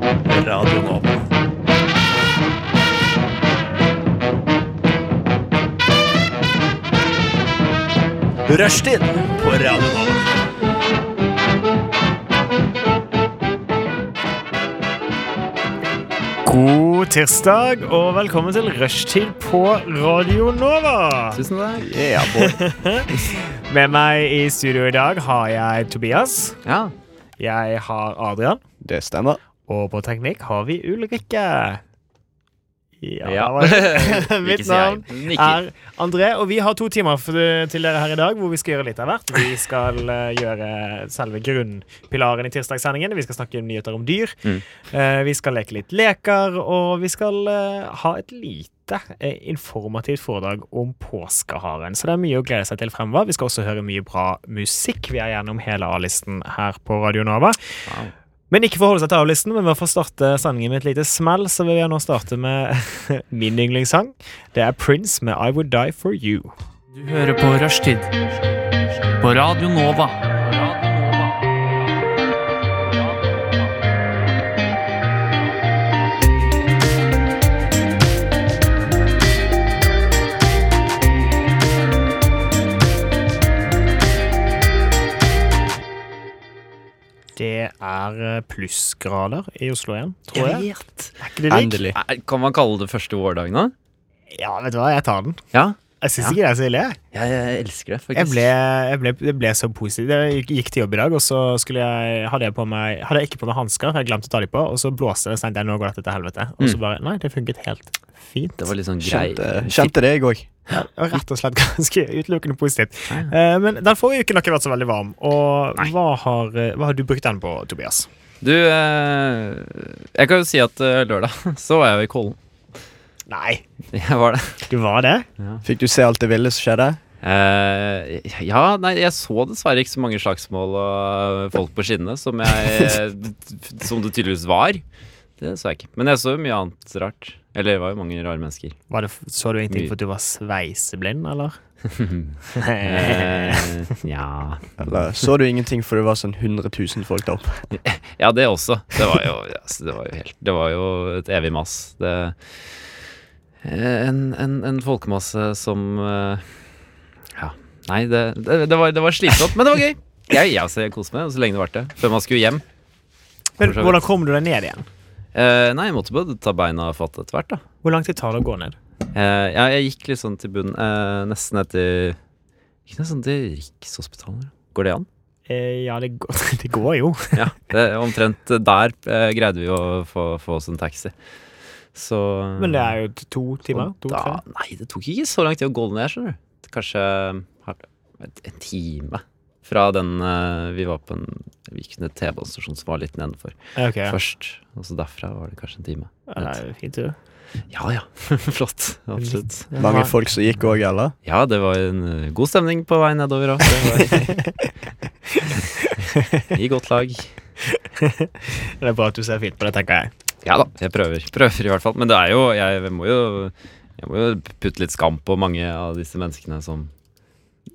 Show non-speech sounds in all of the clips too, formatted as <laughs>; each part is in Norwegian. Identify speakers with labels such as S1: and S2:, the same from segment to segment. S1: Radio Nova. Rushtid på Radio Nova.
S2: God tirsdag og velkommen til Rushtid på Radio Nova.
S3: Tusen takk.
S1: Yeah, boy.
S3: <laughs>
S2: Med meg i studio i dag har jeg Tobias,
S3: Ja.
S2: jeg har Adrian,
S1: Det stemmer.
S2: og på teknikk har vi Ulrikke. Ja, <laughs>
S3: Ja.
S2: hva er det?
S3: Ikke
S2: Mitt
S3: si jeg.
S2: navn
S3: Nikker.
S2: er André, og vi har to timer for, til dere her i dag hvor vi skal gjøre litt av hvert. Vi skal eh, gjøre selve grunnpilaren i tirsdagssendingen. Vi skal snakke nyheter om dyr.
S3: Mm.
S2: Eh, vi skal leke litt leker, og vi skal eh, ha et lite eh, informativt foredrag om påskeharen. Så det er mye å glede seg til fremover. Vi skal også høre mye bra musikk. Vi er gjennom hele A-listen her på Radio Nova.
S3: Wow.
S2: Men ikke forholde seg til A-listen, men i hvert fall starte sendingen med et lite smell. Så vil jeg nå starte med <laughs> min yndlingssang. Det er Prince med I Would Die For You.
S4: Du hører på Rushtid på Radio Nova.
S2: Det er eh, plussgrader i Oslo igjen, tror jeg.
S3: vet.
S2: Er ikke det digg?
S1: Endelig.
S3: Nei, Kan man kalle det første vårdagen nå?
S2: Ja, vet du hva, jeg tar den.
S3: Ja.
S2: Jeg syns
S3: Ja.
S2: ikke det er så ille. jeg.
S3: Jeg, jeg elsker det, faktisk.
S2: Jeg ble, jeg ble, det ble så positivt. Jeg gikk- gikk til jobb i dag, og så skulle jeg, hadde, jeg på meg, hadde jeg ikke på meg hansker. Jeg glemte å ta dem på, og så blåste det. Så tenkte jeg nå går dette til helvete. Og så bare Nei, det funket helt fint.
S3: Mm. Det var litt sånn grei
S1: Kjente, kjente det, jeg òg.
S2: Ja, og rett og slett <laughs> ganske utelukkende positivt. Eh, men den forrige uken har ikke vært så veldig varm. Og hva har, eh, hva har du brukt den på, Tobias?
S3: Du, eh, jeg kan jo si at eh, lørdag <laughs> så var jeg jo i Kollen.
S2: Nei,
S3: Jeg var det.
S2: du var det?
S1: Fikk du se alt det ville som skjedde?
S3: Eh, ja, nei, jeg så dessverre ikke så mange slagsmål og eh, folk på skinnene som jeg <laughs> Som det tydeligvis var. Det så jeg ikke. Men jeg så jo mye annet rart. Eller det var jo mange rare mennesker.
S2: Var det så du
S3: Mye.
S2: ingenting for at du var sveiseblind,
S3: <laughs>
S2: eller?
S3: Eh, ja
S1: Eller så du ingenting for det var sånn 100 000 folk der oppe?
S3: Ja, det også. Det var jo, altså, det var jo, helt, det var jo et evig mass. Det, eh, en, en, en folkemasse som eh, Ja. Nei, det, det, det, var, det var slitsomt, men det var gøy. Jeg, jeg, altså, jeg koste meg så lenge det varte. Før man skulle hjem.
S2: Men
S3: For så vidt.
S2: hvordan kom du deg ned igjen?
S3: Eh, nei, jeg måtte bare ta beina fatt etter hvert, da.
S2: Hvor lang tid tar det å gå ned?
S3: Eh, ja, jeg gikk litt sånn til bunnen, eh, nesten etter Ikke nesten til Rikshospitalet. Går det an?
S2: Eh, ja, det går, <laughs> det går jo.
S3: Ja, det, omtrent der eh, greide vi å få, få oss en taxi. Så eh,
S2: Men det er jo t- to timer.
S3: Og
S2: To,
S3: da,
S2: tre.
S3: Nei, det tok ikke så lang tid å gå ned, skjønner du. Kanskje har- en time fra den eh, vi var på en Vi gikk ned til T-banestasjonen som var litt nedenfor
S2: Eh, Ok.
S3: først. Og så derfra var det kanskje en time.
S2: Ja, det er jo fint, du.
S3: Ja <laughs> ja, flott. Absolutt.
S1: Mange folk som gikk òg, eller?
S3: Ja, det var en eh, god stemning på vei nedover òg. <laughs> I godt lag.
S2: Det er bra at du ser fint på det, tenker jeg.
S3: Ja da, jeg prøver. Prøver i hvert fall. Men det er jo Jeg må jo, jeg må jo putte litt skam på mange av disse menneskene som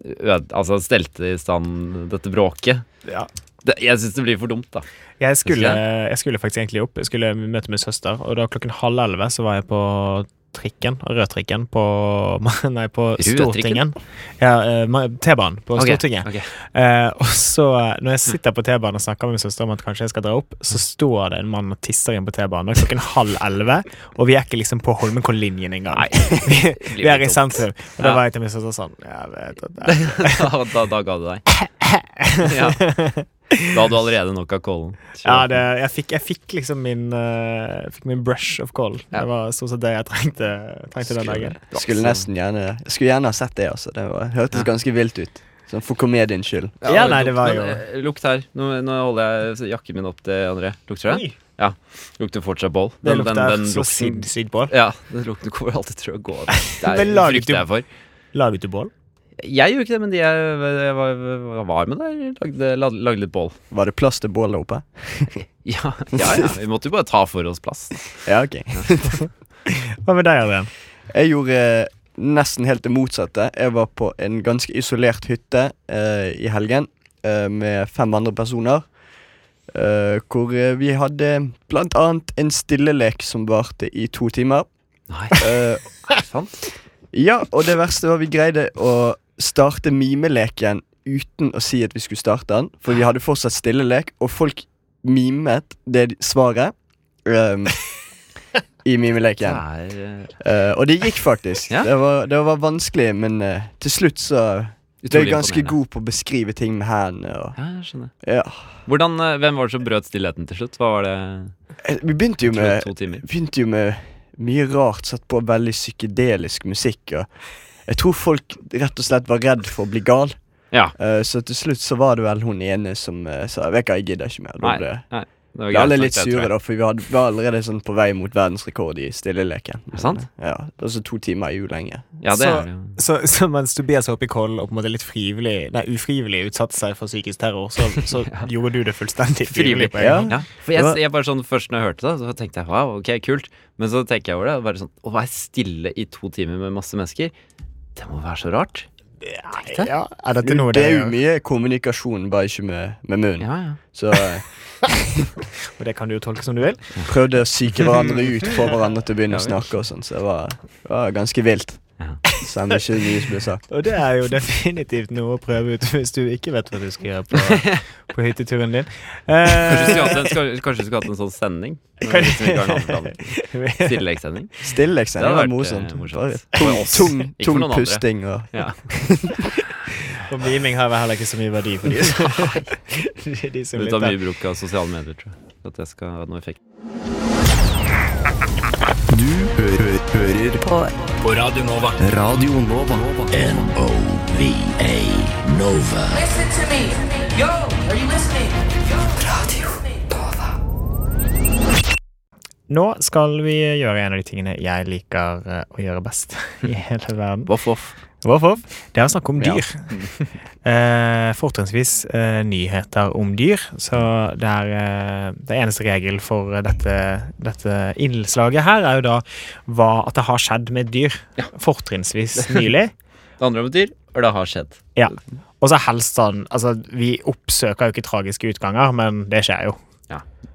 S3: øde, altså stelte i stand dette bråket.
S2: Ja.
S3: Det, jeg syns det blir for dumt, da.
S2: Jeg skulle,
S3: Husker
S2: jeg skulle faktisk egentlig opp. Jeg skulle møte min søster, og da klokken halv elleve så var jeg på trikken, rødtrikken, på Nei, på <laughs>
S3: Rødtrikken?
S2: Stortingen. Ja, eh, ma- T-banen på Stortinget.
S3: Ok, ok.
S2: Eh, og så, når jeg sitter på T-banen og snakker med min søster om at kanskje jeg skal dra opp, så står det en mann og tisser inn på T-banen. Det er klokken halv elleve, og vi er ikke liksom på Holmenkolllinjen engang.
S3: Nei,
S2: vi er i
S3: dumt.
S2: sentrum. Og da
S3: Ja.
S2: var jeg til min søster sånn Jeg vet at det er
S3: da, <laughs> da, da ga du
S2: <laughs>
S3: deg. Ja. Da hadde du allerede nok av kålen.
S2: ja, det, jeg, fikk, jeg fikk liksom min eh, Fikk min brush of call.
S3: Ja.
S2: Det var stort sett det jeg trengte, trengte den dagen.
S1: Skulle nesten gjerne Jeg skulle gjerne ha sett det, altså. Det var, hørtes ganske vilt ut. Sånn for komediens skyld.
S2: Ja, nei, det var
S3: lukt, men, eh, Lukt her. Nå, nå holder jeg jakken min opp til André. Lukter det?
S2: Oi,
S3: Ja. Lukter fortsatt boll.
S2: det
S3: Den- den-
S2: lukter
S3: den
S2: så
S3: lukten-
S2: sinnssykt bål.
S3: Ja, den lukten kommer alltid til å gå
S2: <laughs>
S3: av. Det
S2: Men
S3: er
S2: laget
S3: frykter jeg for.
S2: La du til bål?
S3: Jeg gjorde ikke det, men de jeg, jeg var, jeg var med der. Lagde, la- lagde litt bål. <laughs>
S1: Var det plass til bål der oppe?
S3: Ja, ja, ja. Vi måtte jo bare ta for oss plass.
S1: Ja, ok.
S2: Hva med deg, Adrian?
S1: Jeg gjorde eh, nesten helt det motsatte. Jeg var på en ganske isolert hytte eh, i helgen eh, med fem andre personer. eh, hvor eh, vi hadde blant annet en stillelek som varte i to timer.
S3: <laughs> Nei,
S1: Eh,
S3: er det sant?
S1: ja, og det verste var vi greide å starte mimeleken uten å si at vi skulle starte den, for vi hadde fortsatt stillelek, og folk mimet det svaret ehm, i
S3: Det
S1: mimeleken.
S3: er eh,
S1: Eh, og det gikk faktisk.
S3: Ja.
S1: Det, var, det var vanskelig, men eh, til slutt så ble jeg
S3: utrolig
S1: ganske
S3: imponerende.
S1: god på å beskrive ting med hendene. Og,
S3: Ja, jeg skjønner.
S1: ja.
S3: Hvordan, eh, hvem var det som brøt stillheten til slutt? Hva var det?
S1: Eh, Vi begynte jo med
S3: to timer?
S1: begynte jo med mye rart, satt på veldig psykedelisk musikk. Og jeg tror folk rett og slett var redd for å bli gal.
S3: Ja.
S1: Eh, så til slutt så var det vel hun ene som eh, sa Vet du hva, jeg gidder ikke mer. Da
S3: Nei,
S1: ble-
S3: nei. Det
S1: ble alle
S3: nok,
S1: litt
S3: det, tror
S1: sure,
S3: jeg.
S1: da, for vi hadde, var allerede sånn på vei mot verdensrekord i stilleleken.
S3: det sant?
S1: Ja, altså to timer er jo lenge.
S3: Ja, det
S2: Så-
S3: er det jo.
S2: Så, så mens Tobias var oppe i Kollen og på en måte litt frivillig, nei, ufrivillig utsatte seg for psykisk terror, så, så gjorde du det fullstendig frivillig. på en
S1: Ja.
S2: gang.
S3: Ja, for jeg,
S1: Det var-
S3: jeg bare sånn, Først når jeg hørte det, så tenkte jeg wow, ok, kult. Men så tenker jeg over det. og Bare sånn, Å være stille i to timer med masse mennesker, det må være så rart.
S2: Ja, er dette noe
S1: det er
S2: dere-
S1: jo mye kommunikasjon, bare ikke med, med munnen.
S3: Ja, ja.
S1: Så
S3: <laughs>
S1: eh,
S2: Og det kan du jo tolke som du vil.
S1: prøvde å psyke hverandre ut, få hverandre til å begynne å
S3: Ja,
S1: snakke og sånn, så det var, det var ganske vilt.
S3: Ja.
S1: Selv om ikke mye som ble sagt.
S2: Og det er jo definitivt noe å prøve ut hvis du ikke vet hva du skal gjøre på, på hytteturen din.
S3: Kanskje vi skulle
S2: Eh,
S3: hatt en, skal- kanskje vi skulle hatt en sånn sending? Når vi liksom ikke har noen annen plan.
S2: Eh,
S3: Stillelekssending.
S1: Stilleksen
S3: Det
S1: er
S3: hadde vært,
S1: morsomt.
S3: eh, morsomt.
S1: Bare
S3: For
S1: tung,
S3: oss,
S1: tung,
S3: ikke for noen
S1: tung
S3: andre.
S1: pusting og
S3: Ja.
S2: og miming har vel heller ikke så mye verdi for de som, <laughs> de som
S3: Det tar mye
S2: lytter.
S3: bruk av sosiale medier, tror jeg. for At det skal ha noe effekt.
S5: Du hører, hører på
S6: På Radio Nova.
S5: Radio Nova.
S7: N-O-V-A Nova.
S8: Listen to me. Yo, are you listening? Yo.
S2: Nå skal vi gjøre en av de tingene jeg liker eh, å gjøre best <laughs> i hele verden.
S3: Voff, voff.
S2: Voff, voff. Det er å snakke om
S1: Ja.
S2: dyr. Eh, Fortrinnsvis eh, nyheter om dyr. Så det er eh, det eneste regel for dette, dette innslaget her, er jo da hva, at det har skjedd med et dyr. Fortrinnsvis nylig.
S3: Det handler om et dyr, og det har skjedd.
S2: Ja. Og så helst sånn Altså, vi oppsøker jo ikke tragiske utganger, men det skjer jo.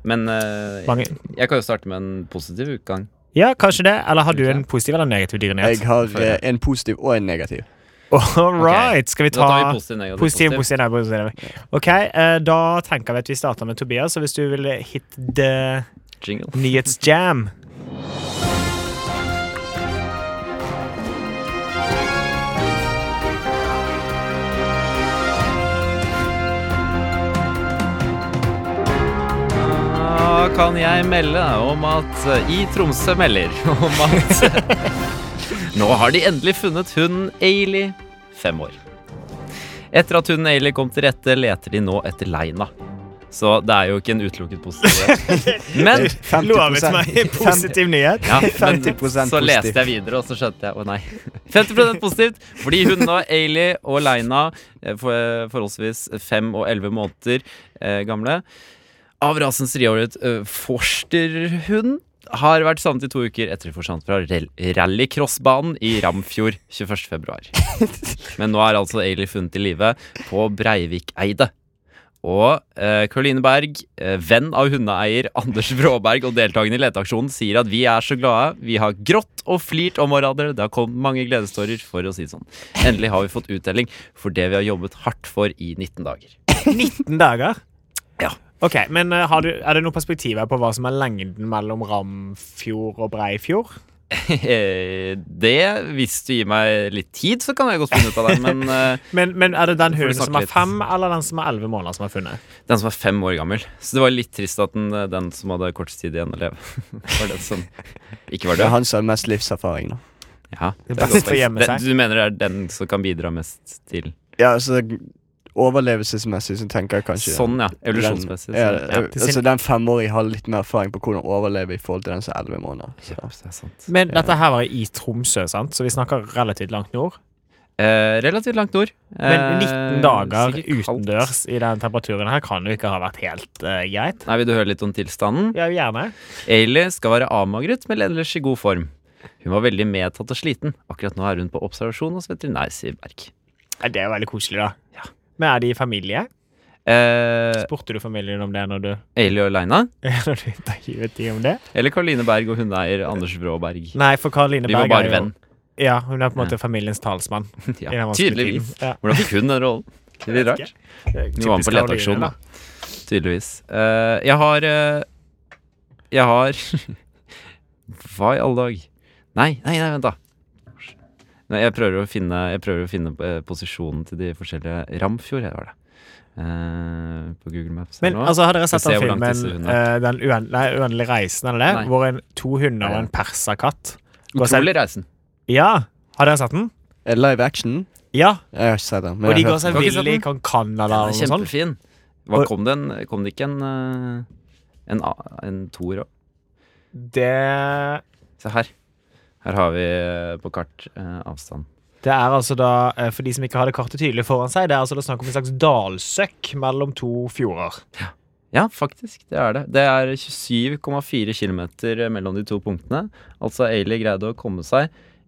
S3: Men eh,
S2: Mange.
S3: jeg kan jo starte med en positiv utgang.
S2: Ja, kanskje det. Eller har du en positiv eller negativ
S1: Jeg <laughs>
S2: dyrenyhet?
S1: har eh, en positiv og en
S3: <laughs>
S1: negativ.
S2: All right. Skal vi
S3: Da tar vi
S2: ta
S3: positiv, negativ,
S2: Positiv,
S3: positiv.
S2: positiv, nei, positiv. OK, eh, da tenker vi at vi starter med Tobias. Og hvis du vil hit the
S3: Jingle.
S2: nyhetsjam
S3: Da kan jeg melde om at eh, I Tromsø melder <laughs> om at Nå har de endelig funnet hunden Ailey, fem år. Etter at hunden Ailey kom til rette, leter de nå etter Leina. Så det er jo ikke en utelukket positivitet. Men,
S1: 50
S2: Lovet
S3: <laughs>
S2: meg en positiv <laughs> nyhet.
S3: ja, men
S1: 50%
S3: så leste
S1: positiv.
S3: jeg videre, og så skjønte jeg å nei. <laughs> 50 positivt, fordi hun og Ailey og Leina, eh, for, forholdsvis fem og elleve måneder eh, gamle, av rasen striåret eh, forsterhund, har vært savnet i to uker etter de forsvant fra rell- rallycrossbanen i Ramfjord 21. februar. Men nå er altså Ailey funnet i live på Breivikeide. Og eh, Caroline Berg, eh, venn av hundeeier <laughs> Anders Bråberg og deltakerne i leteaksjonen, sier at vi er så glade. Vi har grått og flirt om hverandre. Det har kommet mange gledestårer, for å si det sånn. Endelig har vi fått uttelling for det vi har jobbet hardt for i 19 dager. <laughs>
S2: 19 dager.
S3: Ja.
S2: OK, men eh, har du, er det noen perspektiver på hva som er lengden mellom Ramfjord og Breifjord?
S3: Eh, det, hvis du gir meg litt tid, så kan jeg godt finne ut av det.
S2: <laughs>
S3: Men eh,
S2: Men, men er det den
S3: vi
S2: hunden
S3: snakke
S2: som er
S3: litt.
S2: fem, eller den som er elleve måneder, som er funnet?
S3: den som er fem år gammel. Så det var litt trist at den, eh, den som hadde kortest tid igjen å leve, <laughs> var den som ikke var
S1: Det er
S3: død.
S1: han som har mest livserfaring, da.
S3: Ja, det
S2: beste for å gjemme
S3: Den-
S2: seg.
S3: Du mener det er den som kan bidra mest til
S1: Ja, altså Overlevelsesmessig så tenker jeg kanskje
S3: Sånn, ja.
S1: den-
S3: Evolusjonsmessig.
S1: ja,
S3: så- ja.
S1: altså Den femåringen har litt mer erfaring på hvordan overleve i forhold til den som er 11 måneder. Så.
S3: Ja, det er sant.
S2: Men dette her var i Tromsø, sant? så vi snakker relativt langt nord.
S3: Eh, relativt langt nord.
S2: Men 19
S3: Eh,
S2: dager
S3: sikkert kaldt.
S2: utendørs i den temperaturen her kan jo ikke ha vært helt eh, greit.
S3: Nei, Vil du høre litt om tilstanden?
S2: Ja, gjerne.
S3: Ailey skal være avmagret, men ellers i god form. Hun var veldig medtatt og sliten. Akkurat nå er hun på observasjon hos veterinær, sier Berg.
S2: Ja, det er veldig koselig, da. Men er de i familie?
S3: Eh,
S2: Spurte du familien om det når du, <laughs>
S3: Ailey og Leina.
S2: når du intervjuet de om det?
S3: Eller Karoline Berg og hundeeier Anders Brå Berg.
S2: Nei, for Karoline
S3: De var
S2: Berg
S3: bare
S2: er jo
S3: venn. <laughs>
S2: Ja, hun er på en måte familiens talsmann. i den
S3: Ja,
S2: vanskelige
S3: tydeligvis.
S2: tiden. Ja.
S3: Hvordan fikk hun den rollen? Det er litt
S2: Jeg vet
S3: rart. Hun var med på leteaksjon, da. Tydeligvis. Eh, jeg har eh, Jeg har <laughs> Hva i alle dag? Nei, nei, nei, vent, da. Nei, jeg prøver å finne, jeg prøver å finne eh, posisjonen til de forskjellige Ramfjord, jeg var det. Eh, på Google Maps. her
S2: Men
S3: nå.
S2: altså, hadde dere sett
S3: Skal
S2: den
S3: se hvor langt disse
S2: filmen
S3: hundene
S2: eh, Den uen, nei, uendelige reisen, eller det?
S3: Nei.
S2: Hvor en, to hunder og
S3: Nei.
S2: en persakatt går seg-
S3: Utrolig reisen.
S2: Ja! Har dere sett den?
S1: Eh, Live action?
S2: Ja.
S1: Jeg har ikke sett den. men
S2: Og de
S1: jeg har
S2: går
S1: hørt
S2: seg
S3: Har ikke sett
S2: vill i
S3: den?
S2: Kong Canada
S3: Den
S2: og sånn.
S3: er
S2: noe sånt.
S3: kjempefin. Hva,
S2: Og-
S3: kom, det en, kom det ikke en eh, En, a- en toer òg?
S2: Det
S3: Se her. Her har vi eh, på kart eh, avstand.
S2: Det er altså da, eh, for de som ikke har det kartet tydelig foran seg, det er altså da snakk om en slags dalsøkk mellom to fjorder.
S3: Ja, faktisk. Det er det. Det er 27,4 km mellom de to punktene. Altså Ailey greide å komme seg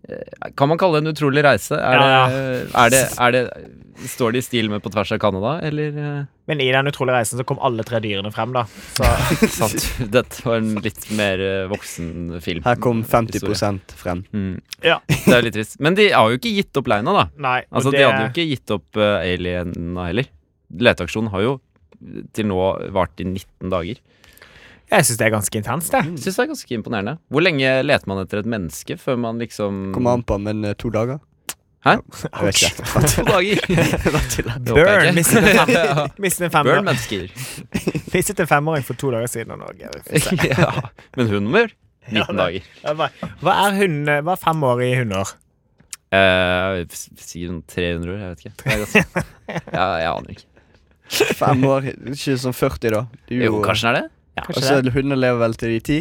S3: eh, Kan man kalle det en utrolig reise? Er
S2: Ja,
S3: det, er det, er det, står de i stil med på tvers av Canada, eller eh,
S2: Men i den utrolige reisen så kom alle tre dyrene frem, da. Så
S3: eh,
S2: <laughs>
S3: sant? Dette var en litt mer eh, voksen film.
S1: Her kom 50
S3: Mm, Historie.
S1: frem.
S3: Mm.
S2: Ja.
S3: <laughs> Det er litt trist. Men de har jo ikke gitt opp leina, da.
S2: nei.
S3: <laughs>
S2: og
S3: Altså,
S2: det,
S3: De hadde jo ikke gitt opp uh, Aliena heller. Leteaksjonen har jo til nå vart i 19 dager.
S2: Jeg syns det er ganske intenst, det.
S3: Syns det er ganske imponerende. Hvor lenge leter man etter et menneske før man liksom <laughs>
S1: Kommer an på, men eh, to dager?
S3: Hæ?
S1: Jeg vet ikke.
S3: To dager! Da tillater- Det håper jeg
S2: Burn
S3: ikke.
S2: mistet en, fem,
S3: <laughs> Ja.
S2: mistet en,
S3: Burn
S2: femmer,
S3: mennesker.
S2: mistet en femåring for to dager siden. og nå er
S3: <laughs>
S2: jeg for sent.
S3: <laughs> ja. Men hun nummer 19
S2: Ja, det-
S3: dager.
S2: Jeg bare, Hva er hund, hva er femårige hunder?
S3: Eh, s- si noen 300 år, jeg vet ikke. Det er ganske- ja, jeg aner ikke.
S1: Fem år, ikke sånn 40, da. Det er
S3: Jo, kanskje den er det? Ja,
S1: Og så hunder lever vel til de ti?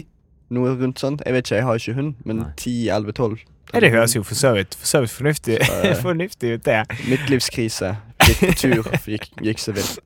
S1: Noe rundt sånt. Jeg vet ikke, jeg har ikke hund, men
S3: Nei.
S1: 10, 11, 12.
S2: Ja, det høres jo for så vidt, for så vidt fornuftig, <laughs> fornuftig ut, det.
S1: Midtlivskrise. Gikk på tur, gikk, gikk så vilt.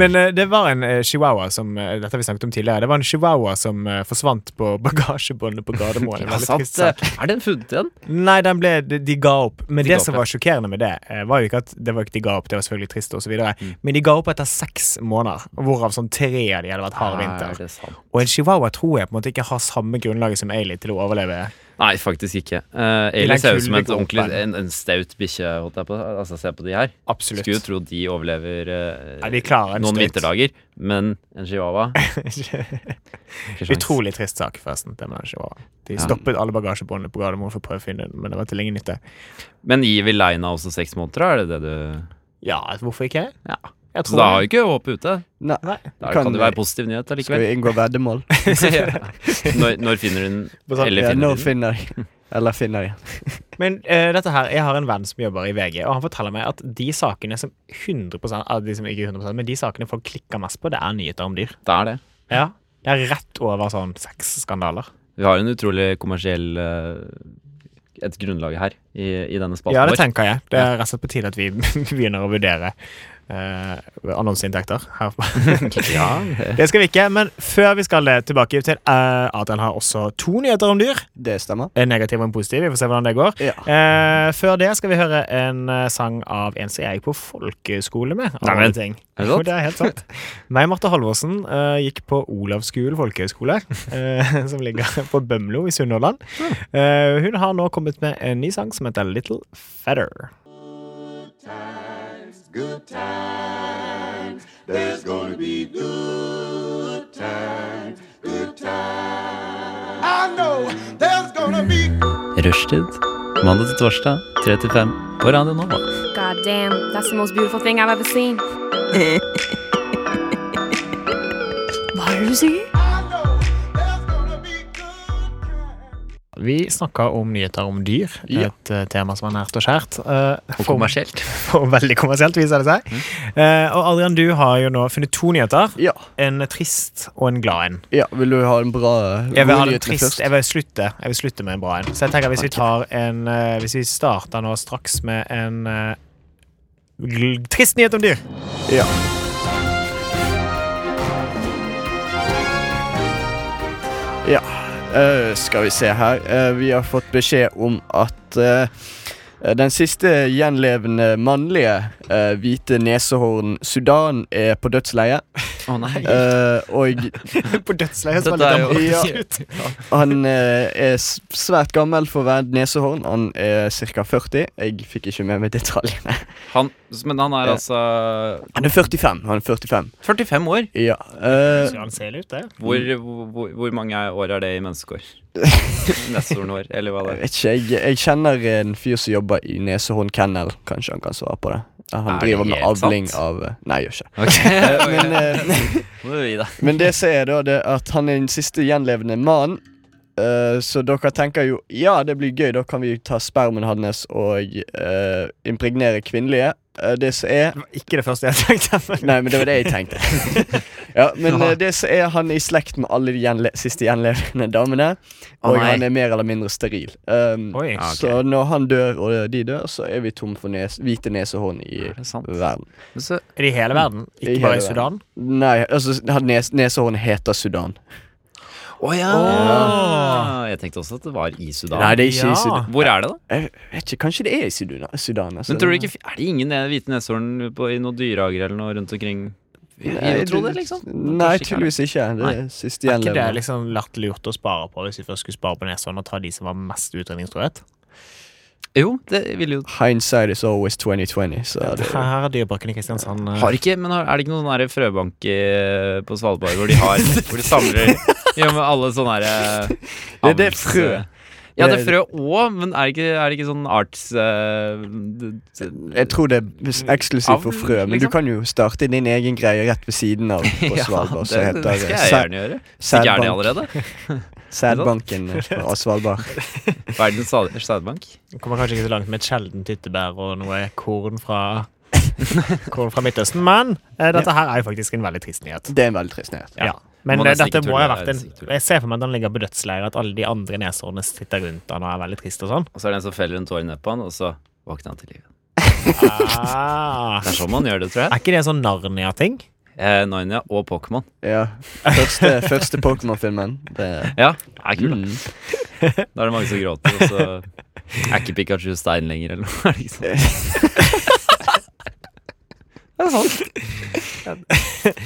S2: Men eh, det var en eh, chihuahua som eh, Dette har vi snakket om tidligere. Det var en chihuahua som eh, forsvant på bagasjebåndet på Gardermoen. En
S3: ja,
S2: veldig
S3: sant. eh,
S2: trist sak.
S3: Er den funnet igjen?
S2: Nei, den ble, de, de ga opp. Men
S3: De
S2: det
S3: ga opp,
S2: som
S3: ja.
S2: var sjokkerende med det, eh, var jo ikke at det var ikke de ga opp, det var selvfølgelig trist osv. videre
S3: Mm.
S2: Men de ga opp etter seks måneder, hvorav sånn tre av de hadde vært hard
S3: Er
S2: vinter.
S3: Ah, det sant?
S2: Og en chihuahua tror jeg på en måte ikke har samme grunnlaget som Ailey til å overleve.
S3: Nei, faktisk ikke. Uh,
S2: Eller
S3: Ailey ser ut som et
S2: kuldekoppen.
S3: ordentlig, en, en staut bikkje. holdt jeg på å si. Altså, se på de her.
S2: Absolutt.
S3: Skulle jo tro de overlever eh,
S2: Nei, de klarer en
S3: noen
S2: støyt. <laughs>
S3: vinterdager, men en chihuahua ikke sjans.
S2: Utrolig trist sak, forresten. Det med den chihuahua. De stoppet alle bagasjebåndene på Gardermoen for å prøve å finne den, men det var til ingen nytte.
S3: Men gir vi Leina også seks måneder, da? er det det du
S2: Ja, hvorfor ikke?
S3: Ja.
S2: Jeg
S3: Så da har jo ikke håpet ute.
S1: Nei.
S2: Nei.
S3: Da
S1: Kan
S3: kan det
S1: vi-
S3: være positiv nyhet
S1: Skal
S3: allikevel.
S1: vi inngå veddemål?
S3: <laughs> Ja. når, når finner
S1: <laughs>
S3: hun
S2: På sånn-
S3: Eller
S1: Ja,
S3: finner
S1: når
S3: hun?
S1: finner de? Eller finner de?
S2: Men eh, dette her, jeg har en venn som jobber i VG, og han forteller meg at de sakene som 100 av de som ikke er 100 men de sakene folk klikker mest på, det er nyheter om dyr.
S3: Det er det.
S2: Ja. Det er rett over sånn sexskandaler.
S3: Vi har en utrolig kommersiell eh, Et grunnlag her i, i denne spalten
S2: Ja, det
S3: vår.
S2: tenker jeg. Det er rett og slett på tide at vi <laughs> begynner å vurdere eh, annonseinntekter <laughs> her.
S3: Ja.
S2: det skal vi ikke, men før vi skal eh, tilbake til eh, at han har også to nyheter om dyr.
S1: Det stemmer.
S2: en negativ og en positiv. Vi får se hvordan det går.
S1: Ja.
S2: Eh, før det skal vi høre en eh, sang av en som jeg gikk på folkeskole med. av
S3: Nei,
S2: alle
S3: men,
S2: ting.
S3: er det
S2: Jo,
S3: sant?
S2: <laughs> det er helt sant. Meg, Marte Halvorsen, eh, gikk på Olavsskolen folkehøgskole, <laughs> eh, som ligger på Bømlo i Sunnhordland. Eh, hun har nå kommet med en ny sang som heter Little Feather.
S3: Rushtid. Mandag til torsdag, 3 til 5 på Radio Nova.
S8: God damn, that's the most beautiful thing I've ever <laughs> seen. Hva er det du sier?
S2: Vi snakker om nyheter om dyr, et eh, tema som er nært og kjært. eh,
S3: Og Mm.
S2: for-
S3: kommersielt.
S2: Og veldig kommersielt, viser det seg. Eh, og Adrian, du har jo nå funnet to nyheter.
S1: Ja.
S2: En trist og en glad en.
S1: ja. Vil du ha en bra
S2: Jeg vil ha
S1: rolig
S2: det
S1: rytme
S2: trist. Jeg vil slutte Jeg vil slutte med en bra en. Så jeg tenker hvis vi tar en eh, Hvis vi starter nå straks med en eh, gl- trist nyhet om dyr. <laughs>
S1: Ja. Ja, eh, skal vi se her. Eh, vi har fått beskjed om at eh, Eh, Den siste gjenlevende mannlige eh, hvite nesehorn Sudan er på dødsleie.
S3: Å nei.
S1: Eh, og
S2: På dødsleiet som
S3: <laughs> Dette
S2: er
S3: er
S2: litt
S3: jo- <laughs>
S2: dramatisk ut.
S1: han eh, er s- svært gammel for å være et nesehorn. Han er ca. 40. Jeg fikk ikke med meg detaljene.
S3: Han, men han er
S1: Ja.
S3: altså
S1: Han er 45. Han er 45.
S3: 45 år.
S1: <laughs> Ja. eh,
S2: Ser han sel ut, det?
S3: Hvor, hvor, hvor mange år er det i menneskeår?
S1: <laughs>
S3: Neshornår, eller hva det
S1: jeg
S3: er.
S1: vet ikke, jeg, jeg kenner en fyr som jobber i Nesehorn Kennel. Kanskje han kan svare på det. Han
S3: Er det
S1: driver med
S3: helt
S1: avling
S3: sant?
S1: av eh, Nei, gjør ikke.
S3: <laughs> Ok,
S1: <laughs>
S3: <laughs>
S1: Men, eh,
S3: må du gi deg.
S1: men det som er, da, det er at han er den siste gjenlevende mannen. Eh, så dere tenker jo ja, det blir gøy, da kan vi ta spermen hans og eh, impregnere kvinnelige. Eh, det som er
S2: Det var ikke det første jeg tenkte.
S1: <laughs> Nei, men det var det jeg tenkte. ja, Men eh, det som er han er i slekt med alle de gjenle siste gjenlevende damene. Og
S3: nei.
S1: han er mer eller mindre steril. Um,
S2: Oi. Ah, ok.
S1: Så når han dør, og de dør, så er vi tom for nes hvite nesehorn i
S3: Er det sant?
S1: verden.
S3: Men så,
S2: Er det i hele verden? Ikke
S1: I
S2: bare i
S1: hele
S2: Sudan?
S1: Nei, altså han nes nesehorn heter Sudan.
S3: å ja.
S2: Åh.
S3: Jeg tenkte også at det var i Sudan.
S1: Nei, det er ikke
S2: Ja.
S1: i Sudan.
S3: Hvor er det, da?
S1: Jeg vet ikke, Kanskje det er i Sudan? Sudan altså.
S3: Men tror du ikke, Er det ingen ne- hvite neshorn på- i noen dyrehager eller noe rundt omkring? Jeg,
S1: Nei,
S3: jeg tror
S1: du-
S3: det, liksom. Men
S1: Nei,
S3: kanskje ikke er det.
S1: tydeligvis ikke. Det er
S3: Nei.
S1: siste
S2: Er ikke det
S1: gjenlevende.
S2: liksom latterlig gjort å spare på hvis vi først skulle spare på Nesodden og ta de som var mest utrydningstrøet?
S3: Jo, det vil jo
S1: Hindsight is always 2020, så det
S2: Her er dyreparken i Kristiansand. eh,
S3: Har ikke, men har, er det ikke noen sånn her frøbank i, på Svalbard hvor de
S1: <laughs>
S3: har Hvor de samler ja, med alle sånne her eh,
S1: Det er det frø. Eh,
S3: Ja, det er frø òg, men er det ikke, er det ikke sånn arts... eh, d- d-
S1: Jeg tror det er eksklusivt for
S3: Avl,
S1: frø, men du
S3: Mm. liksom?
S1: kan jo starte din egen greie rett ved siden
S3: <laughs>
S1: av på Svalbard. så
S3: det,
S1: heter
S3: det
S1: det
S3: skal jeg
S1: Sæd-
S3: gjerne gjøre. Hvis ikke er det
S1: Sædbank-
S3: allerede.
S1: Sædbanken på Svalbard.
S3: <laughs> Verdens sad- sædbank.
S2: Kommer kanskje ikke så langt med et sjeldent tyttebær og noe korn fra Korn fra Midtøsten, men eh, dette her er jo faktisk en veldig trist nyhet.
S1: Det er en veldig trist nyhet.
S2: Ja.
S3: Man
S2: Men
S3: er
S2: eh, dette
S3: sikkert
S2: må jo ha
S3: tull,
S2: vært
S3: det er
S2: en
S3: sikkert tull.
S2: Jeg ser for meg at han ligger på dødsleiret, at alle de andre neshårene sitter rundt han og er veldig trist og <laughs> sånn.
S3: Og så er det en som feller en tår i nebbet, og så våkner han til livet.
S2: Ah.
S3: Det er sånn man gjør det, tror
S2: Er
S3: jeg.
S2: ikke det en sånn Narnia-ting?
S3: Eh, Narnia og Pokémon.
S1: Ja. Første, første Pokémon-filmen. Det er Mm.
S3: Ja, Mm. det er kult. Da. da er det mange som gråter, og så er ikke Pikachu stein lenger, eller noe. <laughs> er liksom det ikke sant?
S1: Eh,
S2: Det er sånn.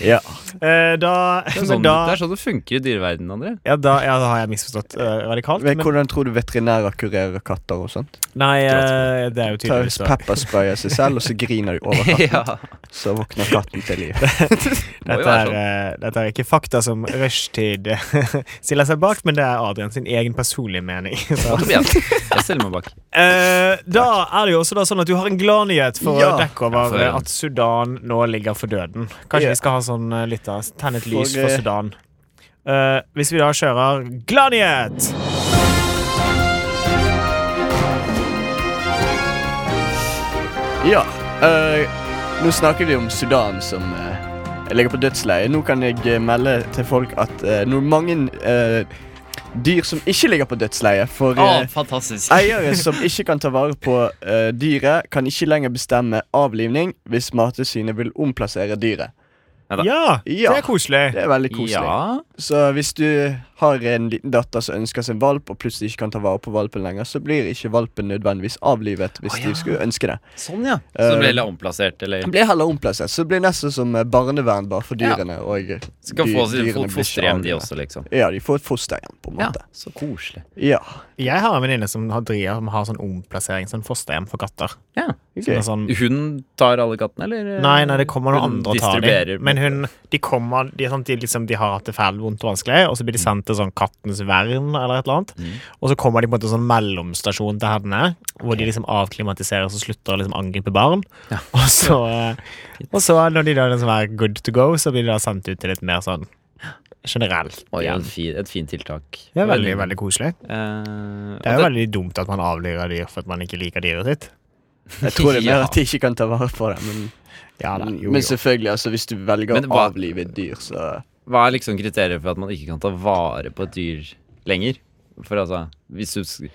S1: Ja.
S2: Eh, da,
S3: Det er
S2: men
S3: sånn
S2: da,
S3: det, er sånn det funker i dyreverdenen, André.
S2: ja, da, ja, da har jeg misforstått eh, radikalt.
S1: Men
S2: Men,
S1: hvordan tror du veterinærer kurerer katter og sånt?
S2: nei, eh, det er jo
S1: Tar
S2: tydeligvis da.
S1: peppersprayer seg selv, og så griner de over
S3: <laughs>
S1: katten.
S3: <laughs> ja.
S1: Så våkner katten til liv.
S3: Må jo
S2: Dette
S3: være
S2: er,
S3: sånn.
S2: eh, dette er ikke fakta som Rushtid <laughs> stiller seg bak, men det er Adrian sin egen personlige mening. Så.
S3: Tobias, jeg stiller meg bak.
S2: Eh, da er det jo også da sånn at du har en gladnyhet for å
S1: Ja.
S2: dekke over
S3: for-
S2: eh, at Sudan nå ligger for døden. Kanskje
S1: Ja.
S2: vi skal ha sånn eh, litt av tenne et lys
S1: For,
S2: for
S1: eh,
S2: Sudan. Eh, hvis vi da kjører gladnyhet!
S1: Ja. eh, nå snakker vi om Sudan, som eh, ligger på dødsleie. Nå kan jeg eh, melde til folk at eh, nå er mange eh, dyr som ikke ligger på dødsleie, for eh,
S3: fantastisk.
S1: Eiere som ikke kan ta vare på eh, dyret, kan ikke lenger bestemme avlivning hvis Mattilsynet vil omplassere dyret.
S3: Da.
S2: Ja,
S1: Ja.
S2: det er koselig.
S1: Det er veldig koselig.
S3: Ja.
S1: Så hvis du har en liten datter som ønsker seg en valp, og plutselig ikke kan ta vare på valpen lenger, så blir ikke valpen nødvendigvis avlivet hvis
S3: Å, ja.
S1: de skulle ønske det.
S3: Sånn, ja. Så
S1: Eh,
S3: ble det omplassert, eller
S1: Den blir heller omplassert, så det blir nesten som eh, barnevern bare for dyrene. Og eh,
S3: skal
S1: dy-
S3: få sitt
S1: dyrene blir
S3: fo-
S1: ikke
S3: fosterhjem, de
S1: avlivet.
S3: også, liksom.
S1: Ja, de får et fosterhjem, på en
S3: Ja,
S1: måte.
S3: så koselig.
S1: Ja.
S2: Jeg har en venninne som har, driver, som har sånn omplassering, sånn fosterhjem for katter.
S3: Ja.
S2: Som er
S1: gøy.
S2: sånn,
S3: Hun tar alle kattene, eller? eh,
S2: nei, nei, det kommer noen
S3: Hun
S2: andre og tar
S3: distribuerer-
S2: dem. Men hun, de kommer, de, er sånn, de, liksom, de har hatt det fælt, vondt og vanskelig, og så blir de sendt til sånn Kattens Vern eller et eller annet.
S3: Mm.
S2: Og så kommer de på en måte sånn mellomstasjon til henne, hvor de liksom avklimatiseres og slutter å liksom angripe barn. <laughs> Og, så, eh, og så, når de da liksom er good to go, så blir de da sendt ut til litt mer sånn generelt.
S3: Oi,
S2: igjen.
S3: en fin, et fint tiltak.
S2: Det er veldig, veldig koselig.
S3: Eh,
S2: Det er jo
S3: og det-
S2: veldig dumt at man avliver dyr for at man ikke liker dyret sitt.
S1: Jeg tror det er
S3: Ja.
S1: mer at de ikke kan ta vare på det. Men,
S2: Ja da, Mm, jo,
S1: men
S2: jo.
S1: selvfølgelig, altså, hvis du velger
S3: Men
S1: å
S3: hva-
S1: avlive et dyr, så
S3: Hva er liksom kriteriet for at man ikke kan ta vare på et dyr lenger? For altså, hvis du sk-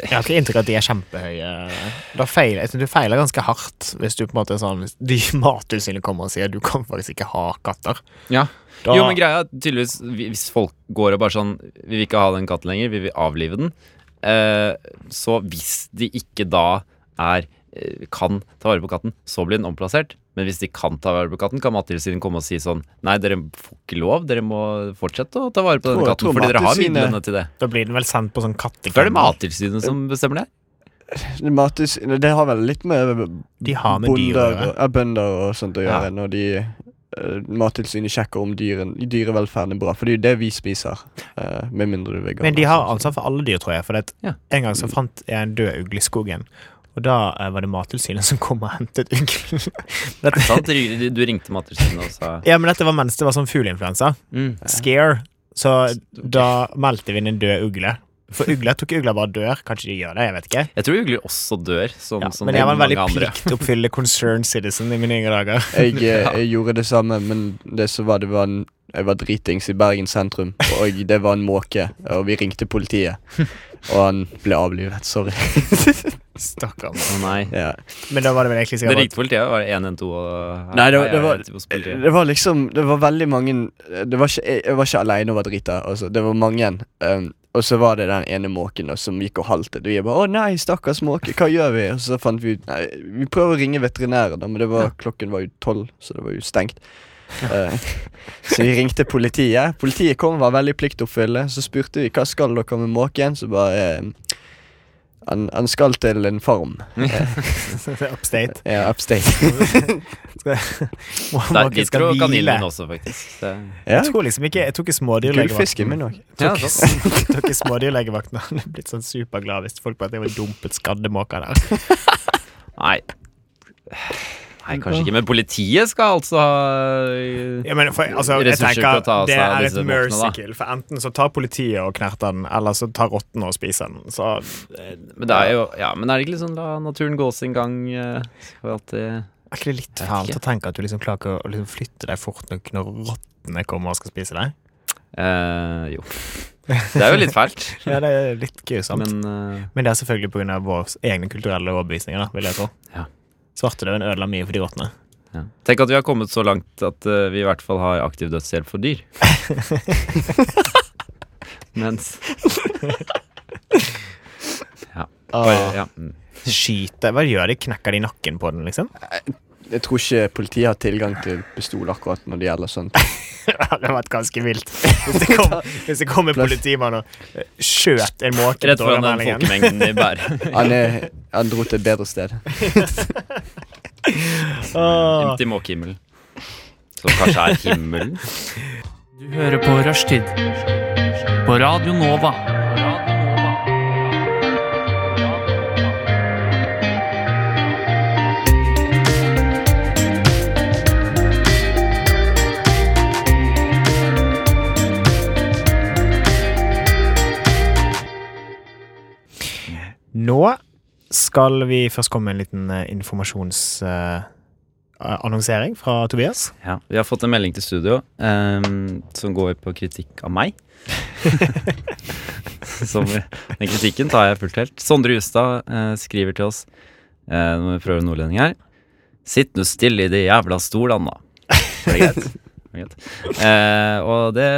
S2: Jeg har ikke inntrykk av at de er kjempehøye. Da feiler, jeg synes du feiler ganske hardt hvis du på en måte er sånn hvis de <laughs> Mattilsynet kommer og sier du kan faktisk ikke ha katter.
S3: Ja.
S2: Da-
S3: Jo, men greia er at tydeligvis vi- Hvis folk går og bare sånn Vi vil ikke ha den katten lenger, vi vil avlive den eh, Så hvis de ikke da er eh, kan ta vare på katten, så blir den omplassert. Men hvis de kan ta vare på katten, kan Mattilsynet komme og si sånn Nei, dere får ikke lov. Dere må fortsette å ta vare på
S1: Tror-
S3: denne katten,
S1: tror
S3: fordi dere har
S1: Mattilsynet-
S3: midlene til det.
S2: Da blir den vel sendt på sånn
S3: Hvorfor er det
S2: kattekammer.
S3: Mattilsynet som bestemmer det?
S1: Mathus, det har vel litt med
S2: De har med dyr å
S1: bonder
S2: gjøre.
S1: og- ja, bønder og sånt å
S3: Ja.
S1: gjøre når de eh, Mattilsynet sjekker om dyren, dyrevelferden er bra, for det er jo det vi spiser. eh, med mindre du er veganer.
S2: Men de har
S1: sånn.
S2: ansvar for alle dyr, tror jeg. For at
S3: Ja.
S2: en gang så fant jeg en død ugle i skogen. Og da eh, var det Mattilsynet <laughs> som kom og hentet uglen. <laughs> Dette-
S3: Sant? Du du ringte Mattilsynet og sa
S2: ja, men dette var mens det var sånn fugleinfluensa.
S3: mm.
S2: Scare. Så da meldte vi inn en død ugle. For ugler tror ikke ugler bare dør. Kanskje de gjør det, jeg vet ikke.
S3: Jeg tror ugler også dør, som,
S2: Ja,
S3: som
S2: men jeg var en
S3: mange
S2: veldig
S3: andre.
S2: pliktoppfyllende concerned citizen i mine yngre dager.
S1: Jeg, eh, jeg gjorde det samme, men det som var, det var en, jeg var dritings i Bergen sentrum, og det var en måke, og vi ringte politiet. Og han ble avlivet. Sorry.
S2: Stakkar.
S3: Å nei.
S1: Ja.
S2: <laughs> Men da var det vel egentlig
S3: Det
S2: sikkert bare-
S3: ringte politiet, var det 112 og
S1: Nei, det var-
S3: Hei,
S1: det var-
S3: jeg heter hos politiet.
S1: Det var liksom Det var veldig mange det var ikke, Jeg jeg var ikke aleine og var drita. Altså. Det var mange. Um, og så var det den ene måken da, som gikk og haltet. Og jeg bare 'Å nei, stakkars måke, hva gjør vi?' Og så fant vi ut Nei, vi prøver å ringe veterinæren, da, men det var, klokken var jo tolv, så det var jo stengt. Eh, så vi ringte politiet. Politiet kom var veldig pliktoppfyllende. Så spurte vi hva skal dere med måken. Så bare eh, han, han skal til en farm.
S2: <laughs> Upstate.
S1: Ja, upstate.
S2: Må-
S3: Nei,
S2: Måken
S3: vi
S2: skal
S3: tror kaninen
S2: hvile.
S3: min også, faktisk. Det,
S1: Ja,
S2: Jeg tror liksom ikke Jeg tok ikke smådyrlegevakten.
S1: Gullfisken min òg.
S3: ja,
S2: Tok
S3: sånn.
S2: <laughs> ikke- tok ikke smådyrlegevakten. Han er blitt sånn superglad hvis folk bare drev og dumpet skadde måker <laughs> der.
S3: Nei. Nei, kanskje ikke. Men politiet skal altså ha
S2: Ja, men for, altså, jeg
S3: Ressurser til å ta seg
S2: tenker Det
S3: av
S2: er
S3: disse
S2: et
S3: måkene, da.
S2: mercy kill. For enten så tar politiet og knerter den, eller så tar rottene og spiser den. Så
S3: Men det er jo Ja, men er det ikke litt sånn la naturen gå sin gang? eh, Skal vi alltid
S2: er ikke det litt
S3: Jeg vet
S2: fælt
S3: ikke.
S2: å tenke at du liksom klarer ikke å- å liksom flytte deg fort nok når rottene kommer og skal spise deg?
S3: eh, Jo. Det er jo litt fælt.
S1: <laughs>
S2: Ja, det er litt grusomt.
S3: Men eh,
S2: Men det er selvfølgelig pga. våre egne kulturelle overbevisninger. da, vil jeg tro.
S3: Ja.
S2: Svartedauden ødela mye for de rottene.
S3: ja. Tenk at vi har kommet så langt at eh, vi i hvert fall har aktiv dødshjelp for <laughs> dyr. Mens bare, <laughs> ja. mm.
S2: Skyte Hva gjør de? Knekker de nakken på
S3: <laughs>
S2: den, liksom?
S1: Jeg tror ikke politiet har tilgang til pistol akkurat når det gjelder sånt.
S2: det hadde vært ganske vilt. Hvis det
S3: <laughs>
S2: kom, hvis det kom en politimann og eh, skjøt en måke på
S3: Rett foran den
S2: Dovremeldingen.
S3: folkemengden i
S1: <laughs>
S3: Bærum.
S1: Han, er, han dro til et bedre sted.
S3: <laughs>
S2: Åh.
S3: Til måkehimmelen. Som kanskje er himmelen?
S9: Du hører på Rushtid på Radio Nova.
S2: Nå skal vi først komme med en liten eh, informasjonsannonsering fra Tobias.
S3: Ja, Vi har fått en melding til studio ehm, som går på kritikk av <laughs> meg. som, den kritikken tar jeg fullt helt. Sondre Justad eh, skriver til oss eh, Nå må vi prøve nordlending her. Sitt nå stille i de jævla stolene, da. Det er greit. Det er greit. Eh, og det,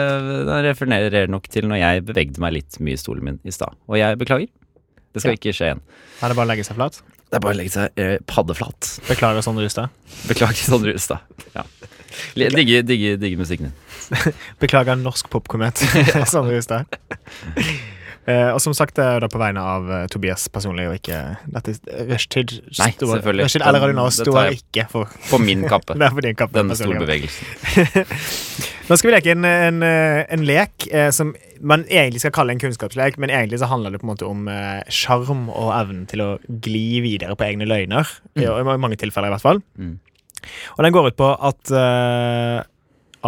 S3: det refererer nok til når jeg bevegde meg litt mye i stolen min i stad. Og jeg beklager. Det skal ikke skje igjen.
S2: Er det bare å legge seg flat?
S3: Det er bare å legge seg eh, paddeflat.
S2: Beklager, Sondre Justad.
S3: Beklager, Sondre Justad. Ja. Li- Digger, digger, digger musikken din.
S2: Beklager norsk
S3: <laughs>
S2: popkomet. Sondre Justad. Eh, og som sagt, det er da på vegne av eh, Tobias personlig, og ikke dette Rushtid.
S3: Nei,
S2: står-
S3: selvfølgelig.
S2: Rushtid eller Radio
S3: Den-
S2: Nova
S3: det tar
S2: står
S3: jeg.
S2: ikke for, <laughs>
S3: På min kappe.
S2: det er for din kappe.
S3: Denne
S2: personlig.
S3: stolbevegelsen.
S2: Nå skal vi leke en, en, eh, en lek eh, som man egentlig skal kalle en kunnskapslek, men egentlig så handler det på en måte om eh, sjarm og evnen til å gli videre på egne løgner. I, I mange tilfeller, i hvert fall.
S3: Mm.
S2: Og den går ut på at eh,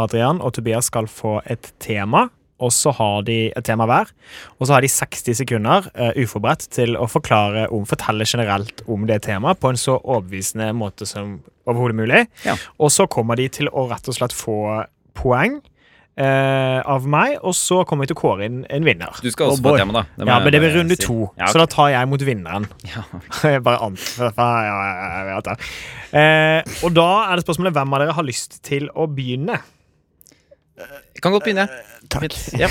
S2: Adrian og Tobias skal få et tema. Og så har de et tema hver, og så har de 60 sekunder eh, uforberedt til å forklare om, fortelle generelt om det temaet på en så overbevisende måte som overhodet mulig.
S3: Ja.
S2: Og så kommer de til å rett og slett få poeng eh, av meg, og så kommer vi til å kåre inn en vinner.
S3: Du skal også
S1: Oh,
S3: få
S1: boy.
S3: tema, da. Det må
S2: Ja,
S3: jeg
S2: men det
S3: bare
S2: blir runde
S3: si.
S2: to,
S3: Ja,
S2: så da tar jeg mot vinneren.
S3: <laughs> ja.
S2: <laughs> Jeg bare antar ja, ja, ja, jeg vet det. Eh, Og da er det spørsmålet hvem av dere har lyst til å begynne.
S3: Jeg Kan godt begynne.
S1: Takk.
S3: <laughs> Ja.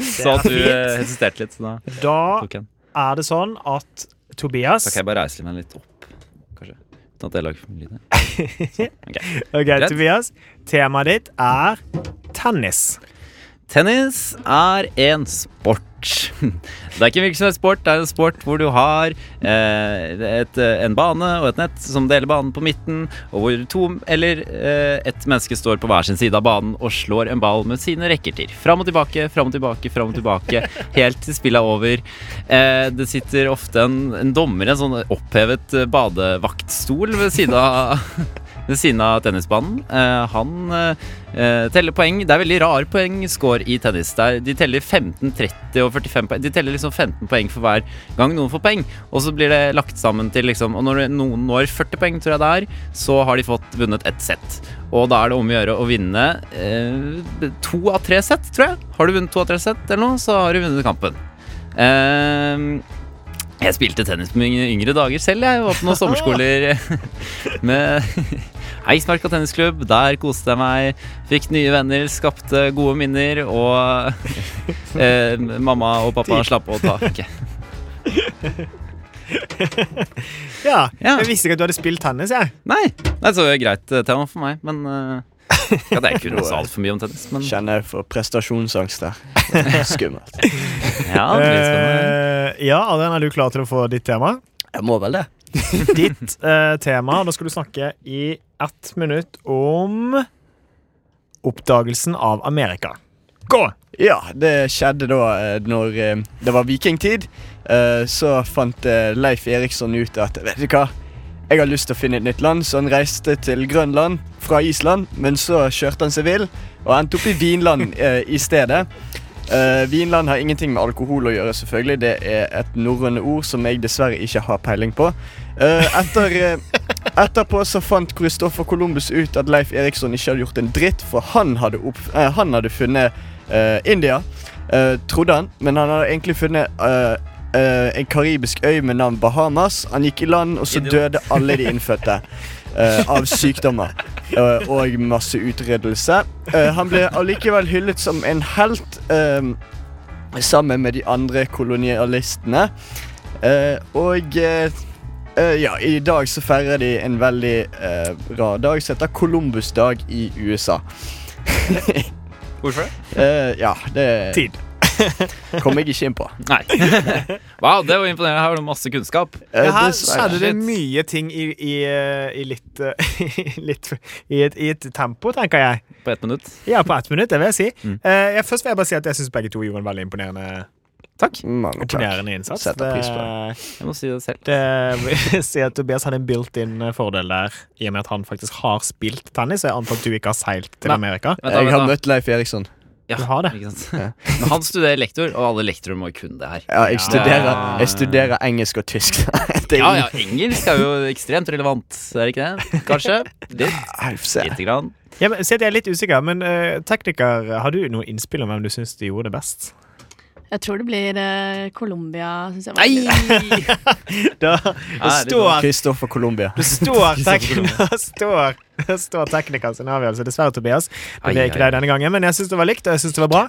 S3: Så at du eh, hesiterte litt, så da
S2: Da
S3: tok jeg den.
S2: er det sånn at Tobias.
S3: Så kan jeg bare reise meg litt opp, kanskje. Uten at jeg lager for mye
S2: <laughs>
S3: lyd. her. Sånn,
S2: Ok,
S3: Greit.
S2: Tobias. Temaet ditt er tennis.
S3: Tennis er en sport. <laughs> Det er ikke en hvilken som helst sport. Det er en sport hvor du har eh, et, eh, en bane og et nett som deler banen på midten, og hvor to eller eh, ett menneske står på hver sin side av banen og slår en ball med sine racketier. Fram og tilbake, fram og tilbake, fram og tilbake, helt til spillet er over. Eh, det sitter ofte en, en dommer, en sånn opphevet eh, badevaktstol ved siden av ved siden av tennisbanen. Eh, han eh, teller poeng. Det er veldig rar poengscore i tennis. Det er- de teller 15, 30 og 45 poeng. De teller liksom 15 poeng for hver gang noen får poeng. Og så blir det lagt sammen til liksom Og når noen når 40 poeng, tror jeg det er, så har de fått vunnet ett sett. Og da er det om å gjøre å vinne eh, to av tre sett, tror jeg. Har du vunnet to av tre sett eller noe, så har du vunnet kampen. Eh, jeg spilte tennis på mine yngre dager selv. Jeg var på noen sommerskoler <laughs> med Eiksmarka tennisklubb. Der koste jeg meg, fikk nye venner, skapte gode minner, og <laughs> eh, mamma og pappa slapp å ta Ok.
S2: Ja,
S3: Ja.
S2: Jeg visste ikke at du hadde spilt tennis. jeg.
S3: Nei, nei, så var det greit eh, tema for meg, men eh, ikke at jeg kunne så altfor mye om tennis, men ja,
S1: Kjenner jeg for prestasjonsangst der. Skummelt.
S3: det blir spennende.
S2: Eh, ja, Adrian, er du klar til å få ditt tema?
S3: <laughs>
S1: Jeg må vel det.
S2: Ditt eh, tema. Da skal du snakke i ett minutt om oppdagelsen av Amerika. Gå!
S1: Ja, det skjedde da eh, når eh, det var vikingtid. Eh, Så fant eh, Leif Eriksson ut at Vet du hva? Jeg har lyst til å finne et nytt land, så han reiste til Grønland fra Island. Men så kjørte han seg vill og endte opp i Vinland eh, i stedet. Eh, Vinland har ingenting med alkohol å gjøre, selvfølgelig. Det er et norrøne ord som jeg dessverre ikke har peiling på. Eh, etter, eh, etterpå så fant Christoffer Columbus ut at Leif Eriksson ikke hadde gjort en dritt, for han hadde, opp, eh, han hadde funnet eh, India, eh, trodde han, men han hadde egentlig funnet eh, eh, en karibisk øy med navn Bahamas. Han gikk i land, og så døde alle de innfødte. eh, av sykdommer eh, og masse utryddelse. Eh, han ble allikevel hyllet som en helt eh, sammen med de andre kolonialistene. Eh, og eh, eh, ja, i dag så feirer de en veldig eh, rar dag som heter Columbus-dag i USA.
S10: Hvorfor det?
S1: Eh, ja, det
S2: Tid.
S1: <laughs> kom jeg ikke inn på.
S3: Nei. <laughs>
S10: Wow, det var imponerende. Her har du masse kunnskap.
S1: Eh,
S2: Ja, her
S1: dessverre.
S2: skjedde det
S10: Shit.
S2: mye ting i, i, eh, i litt, eh, <laughs> i litt i, et, I et tempo, tenker jeg.
S3: På ett minutt.
S2: Ja, på ett minutt, det vil jeg si.
S1: Mm.
S2: Eh, jeg, først vil jeg bare si at jeg syns begge to gjorde en veldig imponerende,
S3: Takk.
S1: Mange takk.
S2: imponerende innsats. Eh,
S1: Setter pris på
S3: Eh,
S1: det.
S3: Jeg må si det selv.
S2: Det vil <laughs> si at Tobias hadde en built-in eh, fordel der, i og med at han faktisk har spilt tennis. Og jeg antar at du ikke har seilt til
S3: Nei.
S2: Amerika.
S3: Vent da,
S1: Jeg har
S3: vent da.
S1: møtt Leif Eriksson.
S3: Ja,
S2: Du har det.
S3: Ikke sant? Men han studerer lektor, og alle lektorer må jo kunne det her.
S1: Ja, jeg studerer, jeg studerer engelsk og tysk. <laughs> det er
S3: Ja, ja, engelsk er jo ekstremt relevant, er det ikke det? Kanskje? Litt,
S1: Nei, vi får se.
S3: lite grann.
S2: Ja, men, se, jeg er litt usikker, men eh, tekniker, har du noe innspill om hvem du syns de gjorde det best?
S11: Jeg tror det blir eh, Colombia. synes jeg var
S3: Nei!
S11: litt-
S2: Da,
S3: litt
S2: står,
S1: Christoffer Colombia.
S2: det står, tekn- <laughs> det står, det står tekniker sin avgjørelse. Dessverre, Tobias. Men det er ikke
S3: Ai, ai.
S2: deg denne gangen. Men jeg syns det var likt, og jeg syns det var bra.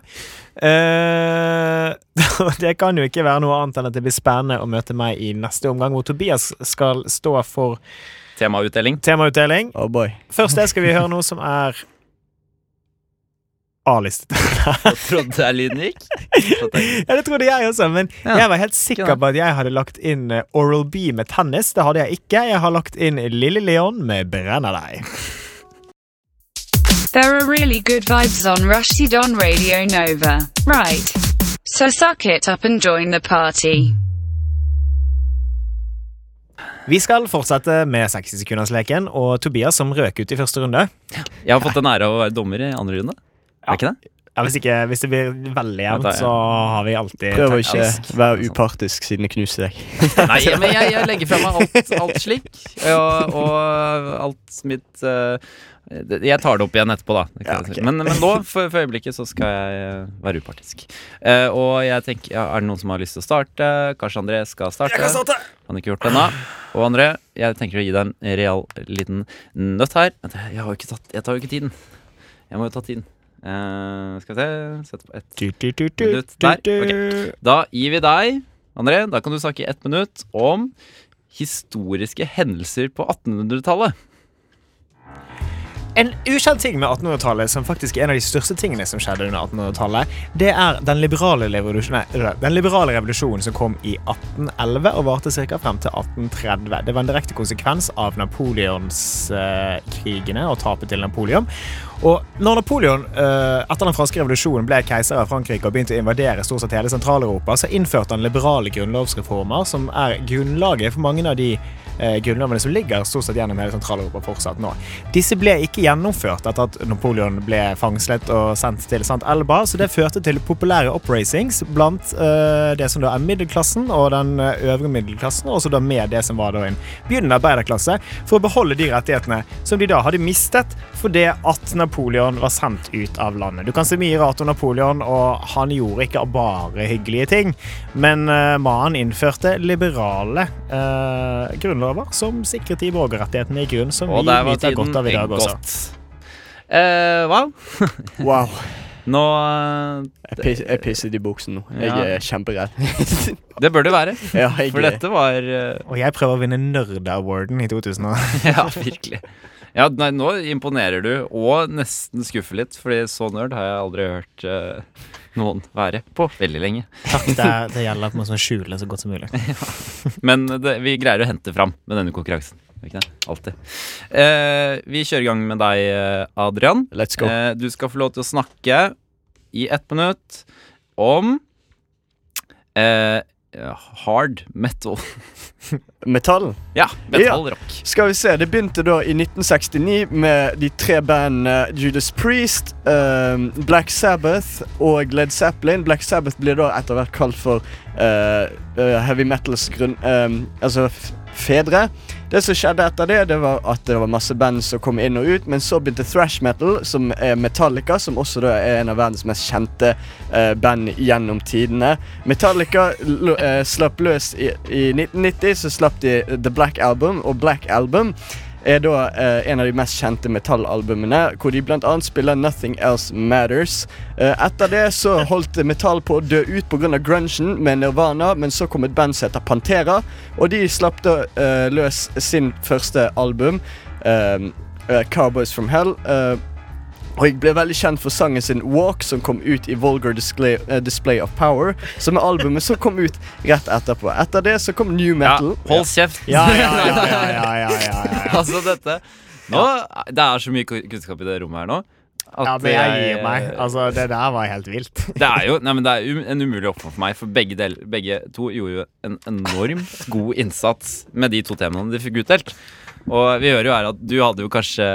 S2: Eh, <laughs> det kan jo ikke være noe annet enn at det blir spennende å møte meg i neste omgang, hvor Tobias skal stå for
S3: Temautdeling.
S2: temautdeling.
S1: Oh boy.
S2: Først der skal vi høre noe som er A-listet.
S3: Jeg trodde jeg lyden gikk. Så tenkte jeg,
S2: <laughs> Ja, det trodde jeg også, men
S3: Ja.
S2: jeg var helt sikker på at jeg hadde lagt inn eh, Oral B med tennis. Det hadde jeg ikke. Jeg har lagt inn Lille Leon med Brenner deg.
S12: There are really good vibes on Rushdie on Radio Nova, right? So suck it up and join the party.
S2: Vi skal fortsette med 60-sekundersleken og Tobias som røk ut i første runde.
S3: Jeg har fått den ære av å være dommer i andre runde. Er ikke det?
S2: Ja, hvis, ikke, hvis det blir veldig jevnt,
S3: Vent da, ja.
S2: så har vi alltid
S1: Prøv å ikke
S3: Teknisk.
S1: være upartisk siden jeg knuste deg.
S3: Nei, men jeg, jeg legger fra meg alt, alt slik. Og, og alt mitt eh, det- Jeg tar det opp igjen etterpå, da. Det kan jeg si. men, men nå, for, for øyeblikket, så skal jeg eh, være upartisk. Eh, og jeg tenker, ja, er det noen som har lyst til å starte? Kanskje André skal starte? Han har ikke gjort det ennå. Og André, jeg tenker å gi deg en real liten nøtt her. Vent, Jeg, har jo ikke tatt, jeg tar jo ikke tiden. Jeg må jo ta tiden. Eh, skal vi se Sette på ett
S2: Du, du, du, du,
S3: Minutt der,
S2: du, du.
S3: Da gir vi deg André, da kan du snakke i ett minutt om historiske hendelser på 1800-tallet.
S2: En ukjent ting med 1800-tallet, som faktisk er en av de største tingene som skjedde under 1800-tallet, det er den liberale, revolusjon- nei, den liberale revolusjonen som kom i 1811 og varte ca. frem til 1830. Det var en direkte konsekvens av Napoleonskrigene og tapet til Napoleon. Og når Napoleon eh, etter den franske revolusjonen ble keiser av Frankrike og begynte å invadere stort sett hele Sentral-Europa, så innførte han liberale grunnlovsreformer, som er grunnlaget for mange av de eh, grunnlovene som ligger stort sett gjennom hele Sentral-Europa fortsatt nå. Disse ble ikke gjennomført etter at Napoleon ble fangslet og sendt til Sant Elba, så det førte til populære oppracings blant eh, det som da er middelklassen og den eh, øvre middelklassen, og også da med det som var da en begynnende arbeiderklasse, for å beholde de rettighetene som de da hadde mistet fordi at Napoleon var sendt ut av landet. Du kan se mye rart om Napoleon, og han gjorde ikke bare hyggelige ting, men uh, mannen innførte liberale eh, grunnlover som sikret de borgerrettighetene i grunn som
S3: Og
S2: vi
S3: der var
S2: nyter
S3: tiden
S2: godt av i dag også.
S3: gått. Eh, wow.
S1: Wow.
S3: Nå eh,
S1: Jeg pis- jeg pisset i buksen nå. Jeg
S3: Ja.
S1: er
S3: <laughs>
S1: kjemperedd.
S3: Det bør det være.
S1: Ja, jeg
S3: For
S1: er-
S3: dette var eh, <laughs>
S2: Og jeg prøver å vinne nerd-awarden i 2000.
S3: Ja, virkelig. Ja, nei, nå imponerer du, og nesten skuffer litt, fordi så nerd har jeg aldri hørt eh, noen være på veldig lenge.
S2: <laughs> Takk, det, det gjelder på en måte å skjule så godt som mulig.
S3: Men det, vi greier å hente fram med denne konkurransen. Gjør vi Ikke det? Alltid. Eh, vi kjører i gang med deg, eh, Adrian.
S1: Let's go.
S3: Eh, du skal få lov til å snakke i ett minutt om eh, hard metal. <laughs>
S1: Metall?
S3: Ja, metallrock.
S1: Skal vi se, Det begynte da i 1969 med de tre bandene Judas Priest, ehm, Black Sabbath og Led Zeppelin. Black Sabbath blir da etter hvert kalt for eh, eh, heavy metals grunn... ehm, altså f fedre. Det som skjedde etter det, det var at det var masse band som kom inn og ut, men så begynte thrash metal, som er Metallica, som også da er en av verdens mest kjente eh, band gjennom tidene. Metallica l- eh, slapp løs i, i 1990, så slapp de The Black Album, og Black Album er da eh, en av de mest kjente metallalbumene, hvor de blant annet spiller Nothing Else Matters. Eh, etter det så holdt metall på å dø ut pga. grungen med Nirvana, men så kom et band som heter Pantera, og de slapp da eh, løs sin første album, eh, eh, Cowboys From Hell. eh, og jeg ble veldig kjent for sangen sin Walk, som kom ut i Vulgar Display, eh, Display of Power, som er albumet som kom ut rett etterpå. Etter det så kom new metal.
S3: Hold kjeft!
S1: Ja, ja, ja,
S2: ja, ja, ja, ja, <laughs> ja.
S3: <laughs> Altså, dette nå, Det er så mye kunnskap i det rommet her nå. at eh,
S2: Ja, men jeg gir
S3: <laughs>
S2: meg. Altså, det der var helt vilt.
S3: Det er jo nei, men det er um, en umulig oppgave for meg, for begge, del, begge to gjorde jo en enormt
S1: <laughs>
S3: god innsats med de to temaene de fikk utdelt. Og vi hører jo her at du hadde jo kanskje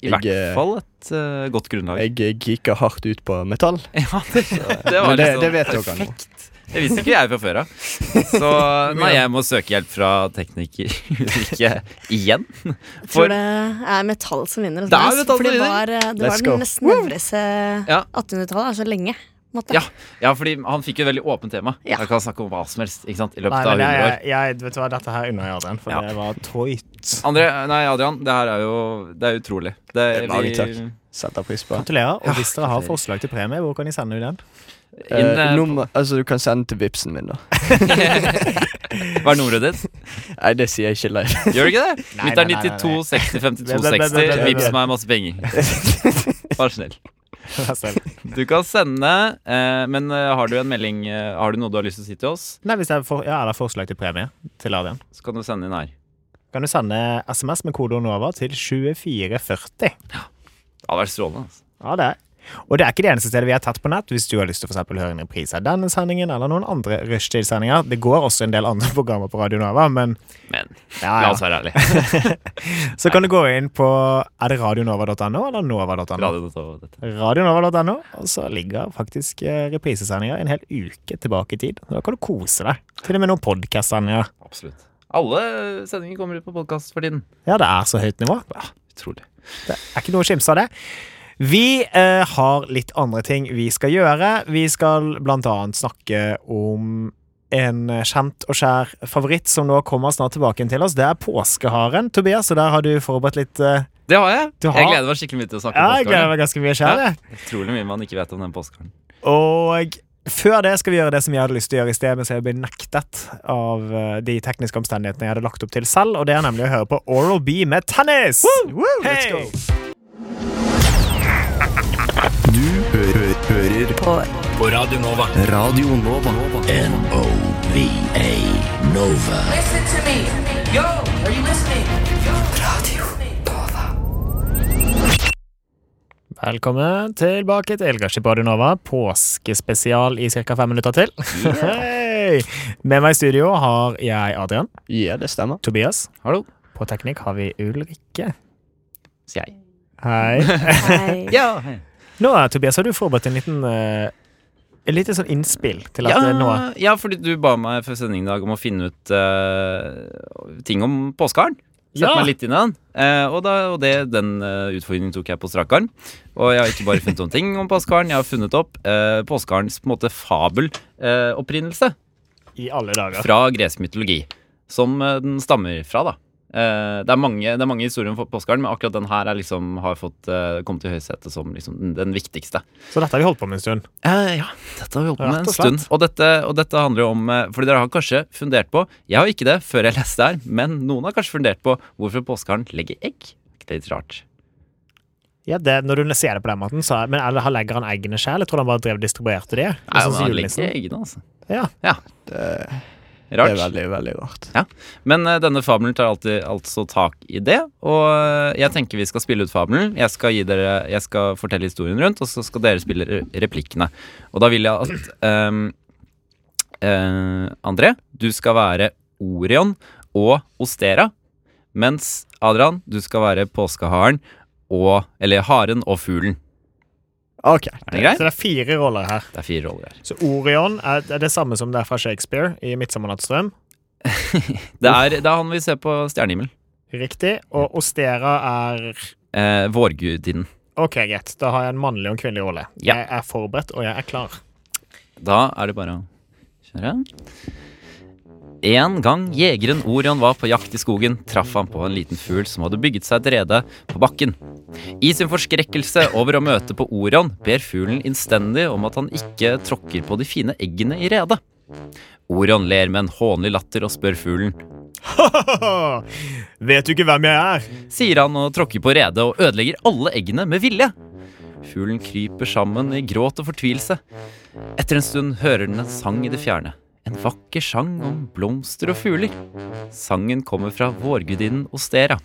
S3: i hvert
S1: Jeg, eh,
S3: fall et eh, godt grunnlag.
S1: Jeg eh, geeker hardt ut på metall.
S3: Ja, det, det var
S1: Men det,
S3: liksom
S1: det vet dere nå.
S3: perfekt. Det visste ikke jeg fra før av.
S2: <laughs>
S3: Så nei, jeg må søke hjelp fra tekniker <laughs> Ulrikke igjen.
S11: Jeg
S3: For
S11: tror det er metall som vinner.
S3: Det er metall
S11: for det
S3: som
S11: var,
S3: vinner.
S11: det
S3: Let's
S11: var
S3: go.
S11: den mest nevrese
S3: Ja.
S11: 1800-tallet er så lenge. på en måte.
S3: ja, ja, fordi han fikk jo et veldig åpent tema.
S11: Ja.
S3: Jeg kan snakke om hva som helst ikke sant? i
S2: Nei,
S3: løpet av
S2: men
S3: 100
S2: jeg,
S3: år.
S2: jeg, vet du hva, dette her unner jeg Adrian, for det var tøyt.
S3: André, nei, Adrian, det her er jo Det er utrolig. Det,
S1: Det er
S3: vi-
S1: Mange takk. Setter pris på.
S2: Gratulerer. Og hvis dere har forslag til premie, hvor kan de sende den?
S1: Eh,
S3: Inn, eh,
S1: nummer, altså, du kan sende til vipsen min, da.
S3: <laughs> Hva er nummeret ditt?
S1: Nei, det sier jeg ikke <laughs> live.
S3: Gjør du ikke det?
S2: Nei,
S3: Mitt er
S2: nei, nei, nei, nei.
S3: 92 60 52
S2: <laughs> Nei, nei, nei, nei,
S3: 60.
S2: nei, nei.
S3: Vips meg masse
S2: <laughs>
S3: penger. Vær snill.
S2: <laughs> Vær snill.
S3: Du kan sende, eh, men eh, har du en melding eh, Har du noe du har lyst til å si til oss,
S2: Nei, hvis det er, for, ja, er det forslag til premie til Adrian.
S3: så kan du sende inn her.
S2: Kan du sende SMS med kode NOVA til 2440.
S3: Det hadde vært strålende. Altså.
S2: Ja, det er. Og det er ikke det eneste stedet vi er tett på nett, hvis du har lyst til å for eksempel høre en reprise av denne sendingen eller noen andre rushtid-sendinger. Det går også en del andre <laughs> programmer på Radio Nova, men
S3: Men la
S2: Ja, ja.
S3: oss være ærlige.
S2: Så kan du gå inn på Er det radionova.no eller nova.no?
S3: Radio Nova, dette.
S2: Radionova.no, og så ligger faktisk eh, reprisesendinger en hel uke tilbake i tid. Da kan du kose deg. Til og med noen podkast-sendinger.
S3: Absolutt. Alle sendinger kommer ut på podkast for tiden.
S2: Ja, det er så høyt nivå.
S3: Utrolig.
S2: Det er ikke noe å skimse av det. Vi eh, har litt andre ting vi skal gjøre. Vi skal blant annet snakke om en kjent og kjær favoritt som nå kommer snart tilbake til oss. Det er påskeharen, Tobias, og der har du forberedt litt eh,
S3: Det har jeg.
S2: Du har-
S3: Jeg gleder meg skikkelig mye til å snakke
S2: Ja,
S3: om
S2: jeg gleder
S3: påskeharen.
S2: meg ganske mye sjøl, jeg.
S3: Utrolig mye man ikke vet om den påskeharen.
S2: Og Før det skal vi gjøre det som jeg hadde lyst til å gjøre i sted, men som jeg ble nektet av eh, de tekniske omstendighetene jeg hadde lagt opp til selv, og det er nemlig å høre på Oral B med tennis! Hey!
S13: <laughs> Du hø hører på.
S14: På Radio Nova.
S13: Radio Nova.
S14: N-O-V-A Nova.
S15: Listen to me. Yo, are you listening? Yo. Radio.
S2: Velkommen tilbake til Elgarskip Radio Nova, påskespesial i ca. fem minutter til. <laughs> Hei! Med meg i studio har jeg Adrian.
S1: Ja, det stemmer.
S2: Tobias.
S3: Hallo.
S2: På teknikk har vi Ulrikke.
S3: Sier jeg.
S2: Hei.
S11: <laughs>
S3: Hei. Ja, hei.
S2: Nå, Tobias, har du forberedt en liten eh, En liten sånn innspill til at
S3: ja,
S2: eh, nå
S3: ja, fordi du ba meg før sending i dag om å finne ut eh, ting om påskeharen. Sette
S2: Ja.
S3: meg litt inn i den. Eh, og da, og det, den eh, utfordringen tok jeg på strak arm. Og jeg har ikke bare funnet noen <laughs> ting om påskeharen, jeg har funnet opp uh, påskeharens på en måte fabelopprinnelse
S2: i alle dager.
S3: fra gresk mytologi. Som eh, den stammer fra, da. Eh, det, er mange, det er mange historier om påskeharen, men akkurat den her er liksom, har fått, eh, kommet i høysetet som liksom, den, den viktigste.
S2: Så dette har vi holdt på med en stund.
S3: Eh, ja, dette har vi holdt på med
S2: Rett
S3: en
S2: og slett.
S3: stund. Og dette, og dette handler jo om eh, Fordi dere har kanskje fundert på Jeg har ikke det før jeg leste det her, men noen har kanskje fundert på hvorfor påskeharen legger egg. Er ikke det litt rart?
S2: Ja, det, Når du ser det på den måten, så er, men eller, han legger han eggene sjøl? Jeg tror han bare drev og distribuerte de.
S3: Nei,
S2: Sånn
S3: men
S2: som
S3: han
S2: julenissen.
S3: legger eggene, altså.
S2: Ja.
S3: Ja.
S1: Det
S3: Rart.
S1: er veldig, veldig rart.
S3: Ja. Men eh, denne fabelen tar alltid altså tak i det, og eh, jeg tenker vi skal spille ut fabelen. Jeg skal, gi dere, jeg skal fortelle historien rundt, og så skal dere spille re- replikkene. Og da vil jeg at ehm, eh, André, du skal være Orion og Ostera, mens Adrian, du skal være påskeharen og Eller haren og fuglen.
S1: Ok.
S3: Er det greit?
S2: Så det er fire roller her.
S3: Det er fire roller her.
S2: Så Orion er, er det samme som det er fra Shakespeare i 'Midtsommernattsdrøm'.
S3: Det er, det er han vi ser på stjernehimmelen.
S2: Riktig. Og Ostera er
S3: Eh, vårgudinnen.
S2: OK, greit. Da har jeg en mannlig og en kvinnelig rolle.
S3: Ja.
S2: Jeg er forberedt, og jeg er klar. <laughs>
S3: Da er det bare å kjøre. En gang jegeren Orion var på jakt i skogen, traff han på en liten fugl som hadde bygget seg et rede på bakken. I sin forskrekkelse over å møte på Orion ber fuglen innstendig om at han ikke tråkker på de fine eggene i redet. Orion ler med en hånlig latter og spør fuglen,
S2: Vet du ikke hvem jeg er?
S3: sier han og tråkker på redet og ødelegger alle eggene med vilje. Fuglen kryper sammen i gråt og fortvilelse. Etter en stund hører den en sang i det fjerne. En vakker sang om blomster og fugler. Sangen kommer fra vårgudinnen Ostera.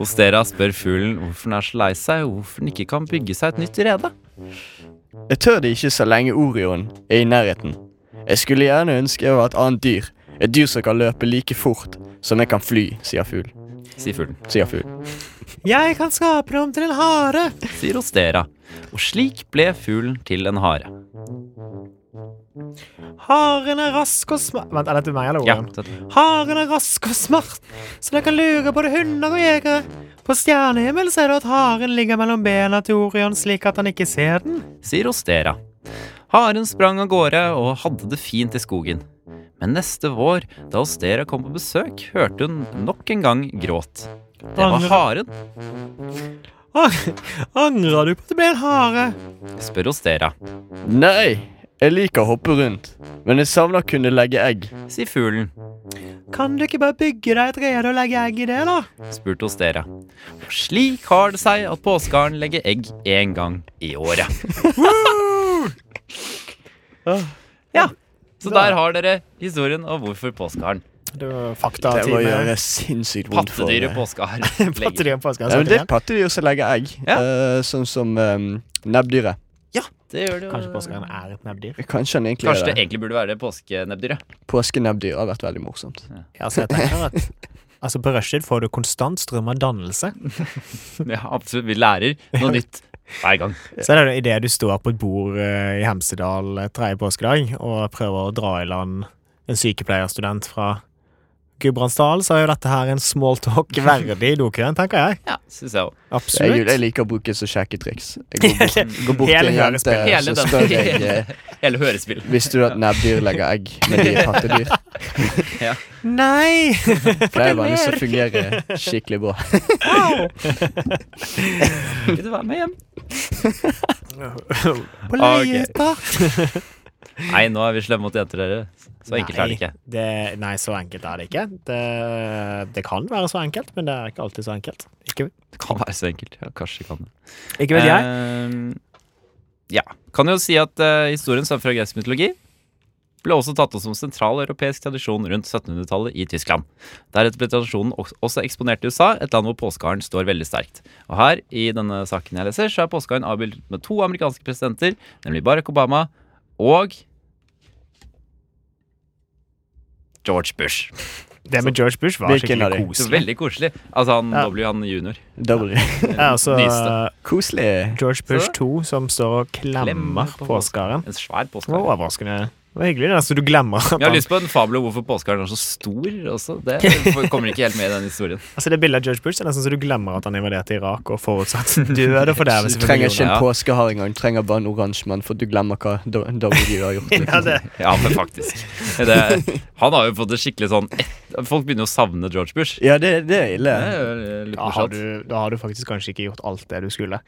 S3: Ostera spør fuglen hvorfor den er så lei seg, og hvorfor den ikke kan bygge seg et nytt rede.
S1: Jeg tør det ikke så lenge Orion er i nærheten. Jeg skulle gjerne ønske jeg var et annet dyr. Et dyr som kan løpe like fort som jeg kan fly, sier fugl.
S3: Sier fuglen.
S1: Sier fugl.
S2: Jeg kan skape det om til en hare.
S3: Sier Ostera. Og slik ble fuglen til en hare.
S2: Haren er rask og smart Vent, er dette meg eller
S3: Ja,
S2: Orion?
S3: det-
S2: Haren er rask og smart, så den kan lure både hunder og jegere. På stjernehimmelen ser du at haren ligger mellom bena til Orion, slik at han ikke ser den.
S3: sier Ostera. Haren sprang av gårde og hadde det fint i skogen. Men neste vår, da Ostera kom på besøk, hørte hun nok en gang gråt. Det var
S2: Angrer-
S3: haren,
S2: <laughs> Angrer du på at det ble en hare?
S3: spør Ostera,
S1: Nei, jeg liker å hoppe rundt, men jeg savner å kunne legge egg.
S3: sier fuglen,
S2: Kan du ikke bare bygge deg et rede og legge egg i det, da?
S3: spurte Ostera. Og slik har det seg at påskeharen legger egg én gang i
S2: <laughs>
S3: året.
S2: Ah.
S3: Ja, så der har dere historien om hvorfor påskeharen.
S2: Det var
S1: Det må
S2: faktatime.
S1: gjøre sinnssykt vondt for eh,
S3: Pattedyret
S2: <laughs>
S3: påskeharen. legger-
S2: Pattedyr <laughs> på skal
S1: Ja, men det er
S2: jeg
S1: pattedyr som legger egg,
S3: Ja.
S1: eh, sånn som um, nebbdyret.
S3: Det gjør det
S2: Kanskje påskeharen er et nebbdyr?
S1: Kanskje han egentlig
S3: Kanskje
S1: er
S3: det egentlig burde være det påskenebbdyret.
S1: Påskenebbdyr har vært veldig morsomt.
S2: Ja, så jeg tenker
S1: <laughs>
S2: at Altså, På rushtid får du konstant strøm av dannelse.
S3: <laughs> Ja, absolutt. Vi lærer noe nytt hver gang.
S2: Så er det jo idet du står på et bord eh, i Hemsedal eh, tredje påskedag og prøver å dra i land en sykepleierstudent fra Gudbrandsdalen, så er jo dette her en
S3: <laughs>
S2: smalltalk verdig i dokøen, tenker jeg.
S3: Ja, synes jeg også.
S1: Jeg, jeg
S2: Absolutt.
S1: liker å bruke så kjekke triks. Jeg går bort, <laughs> går bort
S2: Hele
S1: til en jente,
S2: hørespillet.
S3: Hele,
S1: så
S3: den,
S1: spør jeg eh,
S3: hele hørespillet.
S1: Visste du at nebbdyr legger egg når de er <laughs> pattedyr?
S2: Nei!
S3: <laughs>
S1: For det er vanlig som <laughs> fungerer skikkelig bra.
S3: Vil du være med hjem?
S2: På
S3: Ah, Ok. Nei, nå er vi slemme mot jenter, dere. Så enkelt er det ikke.
S2: Nei, det- nei, så enkelt er det ikke. Det, det kan være så enkelt, men det er ikke alltid så enkelt. Ikke,
S3: Det kan være så enkelt. Ja, kanskje kan det.
S2: ikke vet jeg.
S3: Ehm, ja. Kan jo si at eh, historien som er fra gresk mytologi ble også tatt opp som sentral europeisk tradisjon rundt 1700-tallet i Tyskland. Deretter ble tradisjonen oks- også eksponert i USA, et land hvor påskeharen står veldig sterkt. Og her, i denne saken jeg leser, så er påskeharen avbildet med to amerikanske presidenter, nemlig Barack Obama og George Bush.
S2: Det med George Bush var
S3: Hvilken av de? Det
S2: skikkelig koselig.
S3: var Veldig koselig. Altså, han,
S2: Ja.
S3: da blir han junior.
S1: W.
S2: Ja, altså,
S3: Nyeste.
S1: Koselig.
S2: George
S3: Så
S2: Bush
S3: det?
S2: 2 som står og klemmer
S3: Klemmer på
S2: påskeharen.
S3: En svær
S2: Det var
S3: påskehare.
S2: overraskende. Det var hyggelig, det. Så du glemmer at
S3: Jeg har
S2: han-
S3: lyst på en fabel om hvorfor påskeharen er så stor også. Det <laughs> kommer ikke helt med i den historien.
S2: Altså Det bildet av George Bush er nesten så du glemmer at han invaderte Irak og forutsatt død og fordervelse. for
S1: Trenger ikke
S2: millioner.
S1: en
S3: ja.
S1: påskehare engang. Trenger bare en oransje mann, for du glemmer hva W har
S2: <laughs>
S1: gjort.
S2: Ja, det,
S3: Ja, men faktisk. <laughs> Det, han har jo fått det skikkelig sånn et- Folk begynner å savne George Bush.
S1: Ja, det, det er
S3: Det
S1: ille.
S3: er jo litt
S2: da, har
S3: morsomt.
S2: du, da har du faktisk kanskje ikke gjort alt det du skulle.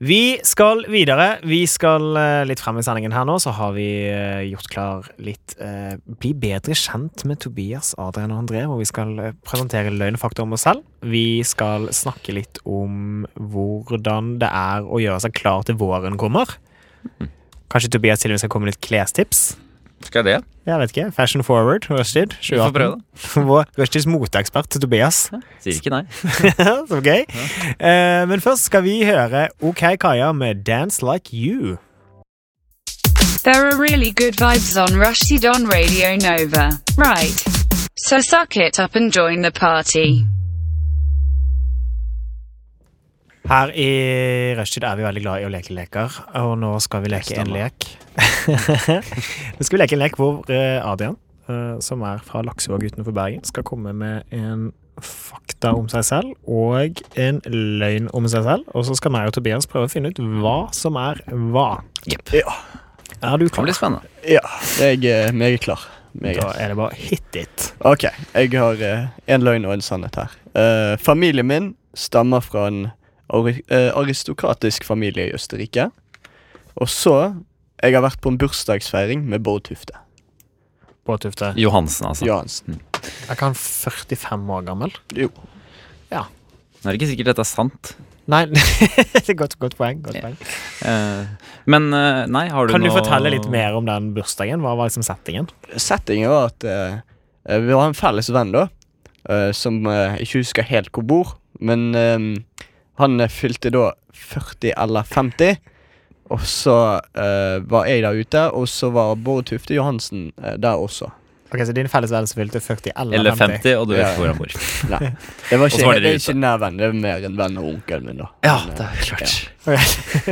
S2: Vi skal videre. Vi skal eh, litt frem i sendingen her nå, så har vi eh, gjort klar litt eh, Bli bedre kjent med Tobias, Adrian og André, hvor vi skal eh, presentere løgn og fakta om oss selv. Vi skal snakke litt om hvordan det er å gjøre seg klar til våren kommer. Kanskje Tobias til og med skal komme med litt klestips?
S3: Skal jeg det?
S2: Jeg vet ikke. Fashion forward, Rushdid.
S3: Vi får prøve,
S2: <laughs> Vår Rushdids moteekspert Tobias.
S3: Sier ikke nei.
S2: <laughs> Så gøy. Eh, men først skal vi høre OK Kaja med 'Dance Like You'.
S12: There are really good vibes on Rushdie on Radio Nova. Right. So suck it up and join the party.
S2: Her i Rushtid er vi veldig glad i å leke leker, og nå skal vi leke en lek. <laughs> nå skal vi leke en lek hvor eh, Adrian, eh, som er fra Laksevåg utenfor Bergen, skal komme med en fakta om seg selv og en løgn om seg selv. Og så skal meg og Tobias prøve å finne ut hva som er hva.
S1: Ja,
S2: Er du
S3: Det
S2: klar?
S3: blir spennende.
S1: ja. jeg er meget klar. Meget.
S2: Da er det bare hit it.
S1: Ok, jeg har eh, en løgn og en sannhet her. Eh, familien min stammer fra en ari- eh, aristokratisk familie i Østerrike. Og så Jeg har vært på en bursdagsfeiring med Bård Tufte
S2: Båtufte.
S3: <laughs> Johansen, altså.
S1: Johansen.
S2: Er ikke han 45 år gammel?
S1: Jo.
S3: Nå er det ikke sikkert dette er sant.
S2: Nei, <laughs> det er godt, godt poeng. Godt
S3: Ja.
S2: poeng.
S3: Eh, Men eh, nei, har du
S2: Kan du
S3: noe-
S2: fortelle litt mer om den bursdagen? Hva var liksom settingen?
S1: Settingen var at eh, eh, vi var en felles venn, da. eh, som eh, ikke husker helt hvor bor. Men eh, han eh, fylte da 40 eller 50. Og så eh, var jeg der ute, og så var Bård Tufte Johansen eh, der også.
S2: Ok, Så din felles venn som fylte 40 eller,
S3: Eller 50, og du vet
S1: Ja.
S3: hvor han bor.
S1: Nei. Det var
S3: Og så
S1: ikke,
S3: var
S1: det
S3: dere
S1: er ikke nær venn. Det er mer en venn av onkelen min. da
S3: Ja,
S1: Men,
S3: det er klart. <laughs>
S1: eh,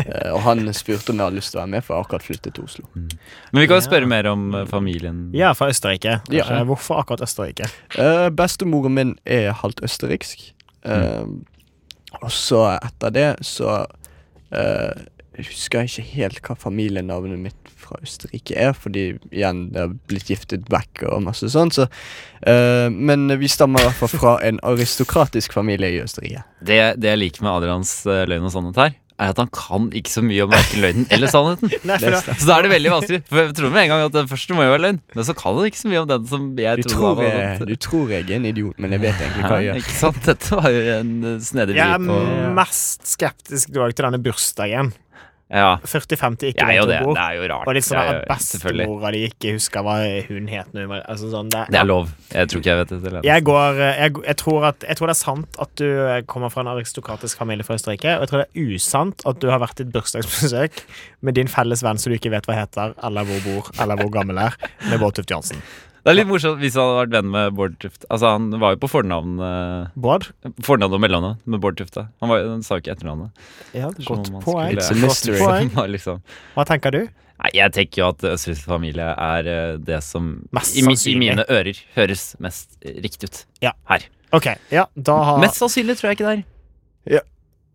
S1: eh, Og han spurte om jeg hadde lyst til å være med, for jeg har akkurat flyttet til Oslo.
S3: Men vi kan jo
S2: Ja.
S3: spørre mer om eh, familien.
S2: Ja, fra Østerrike.
S1: Ja.
S2: Eh, Hvorfor akkurat Østerrike?
S1: Eh, Bestemoren min er halvt østerriksk. Eh,
S2: Mm.
S1: Og så etter det så eh, husker jeg ikke helt hva familienavnet mitt fra Østerrike er, fordi igjen, det har blitt giftet vekk og masse sånn. Så, eh, men vi stammer i hvert fall fra en aristokratisk familie i Østerrike.
S3: Det, det jeg liker med Adrians eh, løgn og sannhet her, er at han kan ikke så mye om verken løgnen eller sannheten.
S2: <laughs> Nei, for da,
S3: Så da er det veldig vanskelig. For jeg tror med en gang at det første må jo være løgn, men så kan han ikke så mye om den som
S1: Du
S3: jeg trodde
S1: tror,
S3: var
S1: jeg,
S3: <laughs> sant.
S1: du tror jeg er en idiot, men jeg vet egentlig hva jeg
S3: Hæ?
S1: gjør.
S3: Ikke sant? Dette var jo en eh, snedig
S2: jeg er
S3: vri på
S2: mest skeptisk du er til denne bursdagen.
S3: Ja,
S2: 40-50 ikke
S3: jeg er jo det.
S2: vet hvor
S3: Det
S2: bor.
S3: er jo rart.
S2: Og litt sånn
S3: Jeg er
S2: at
S3: jo- selvfølgelig.
S2: bestemora di ikke husker hva hun het. nå, men Altså sånn, det,
S3: Det er lov. Jeg tror ikke jeg vet det. Eller.
S2: Jeg, går, eh, jeg, jeg, tror at, jeg tror det er sant at du eh, kommer fra en aristokratisk familie fra Østerrike, og jeg tror det er usant at du har vært i et bursdagsbesøk med din felles venn som du ikke vet hva heter, eller hvor bor, eller hvor gammel er, med Bård Tufte Johansen.
S3: Det er litt morsomt hvis han hadde vært venn med Bård Tufte. Altså, han var jo på fornavn eh,
S2: Bård?
S3: Fornavn og mellomnavn med Bård Tufte. Han, var, jo- han sa jo ikke etternavnet.
S2: Ja,
S3: Som
S2: godt
S3: om han
S2: poeng.
S3: skulle-
S1: It's a
S2: Godt
S1: mystery.
S2: poeng.
S3: <laughs> Han var liksom
S2: Hva tenker du?
S3: Nei, jeg tenker jo at østerriksk familie er eh, det som
S2: Mest
S3: i, mi- i
S2: sannsynlig.
S3: mine ører høres mest eh, riktig ut.
S2: Ja.
S3: Her.
S2: OK, ja, da har
S3: Mest sannsynlig tror jeg ikke det er.
S1: Ja.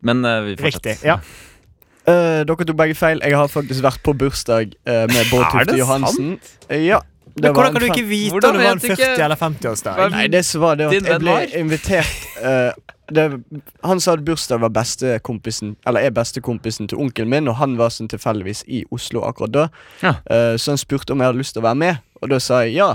S3: Men eh, vi fortsetter.
S2: Riktig. Ja.
S1: Eh, dere tok begge feil. Jeg har faktisk vært på bursdag eh, med Bård
S3: Er
S1: Tufte
S3: det
S1: Johansen. Eh, Ja. det
S2: Men hvordan
S1: var en
S2: kan du
S1: fem-
S2: ikke vite
S3: <laughs> Hvordan
S2: om det var en
S3: vet du
S2: 40-
S3: ikke-
S2: eller 50-årsdag?
S1: Nei, det som var det var
S3: Din
S1: at jeg
S3: venn
S1: ble
S3: var?
S1: invitert eh, det, Han sa at bursdag var bestekompisen Eller er bestekompisen til onkelen min, og han var sånn tilfeldigvis i Oslo akkurat da.
S3: Ja.
S1: Eh, så han spurte om jeg hadde lyst til å være med, og da sa jeg ja.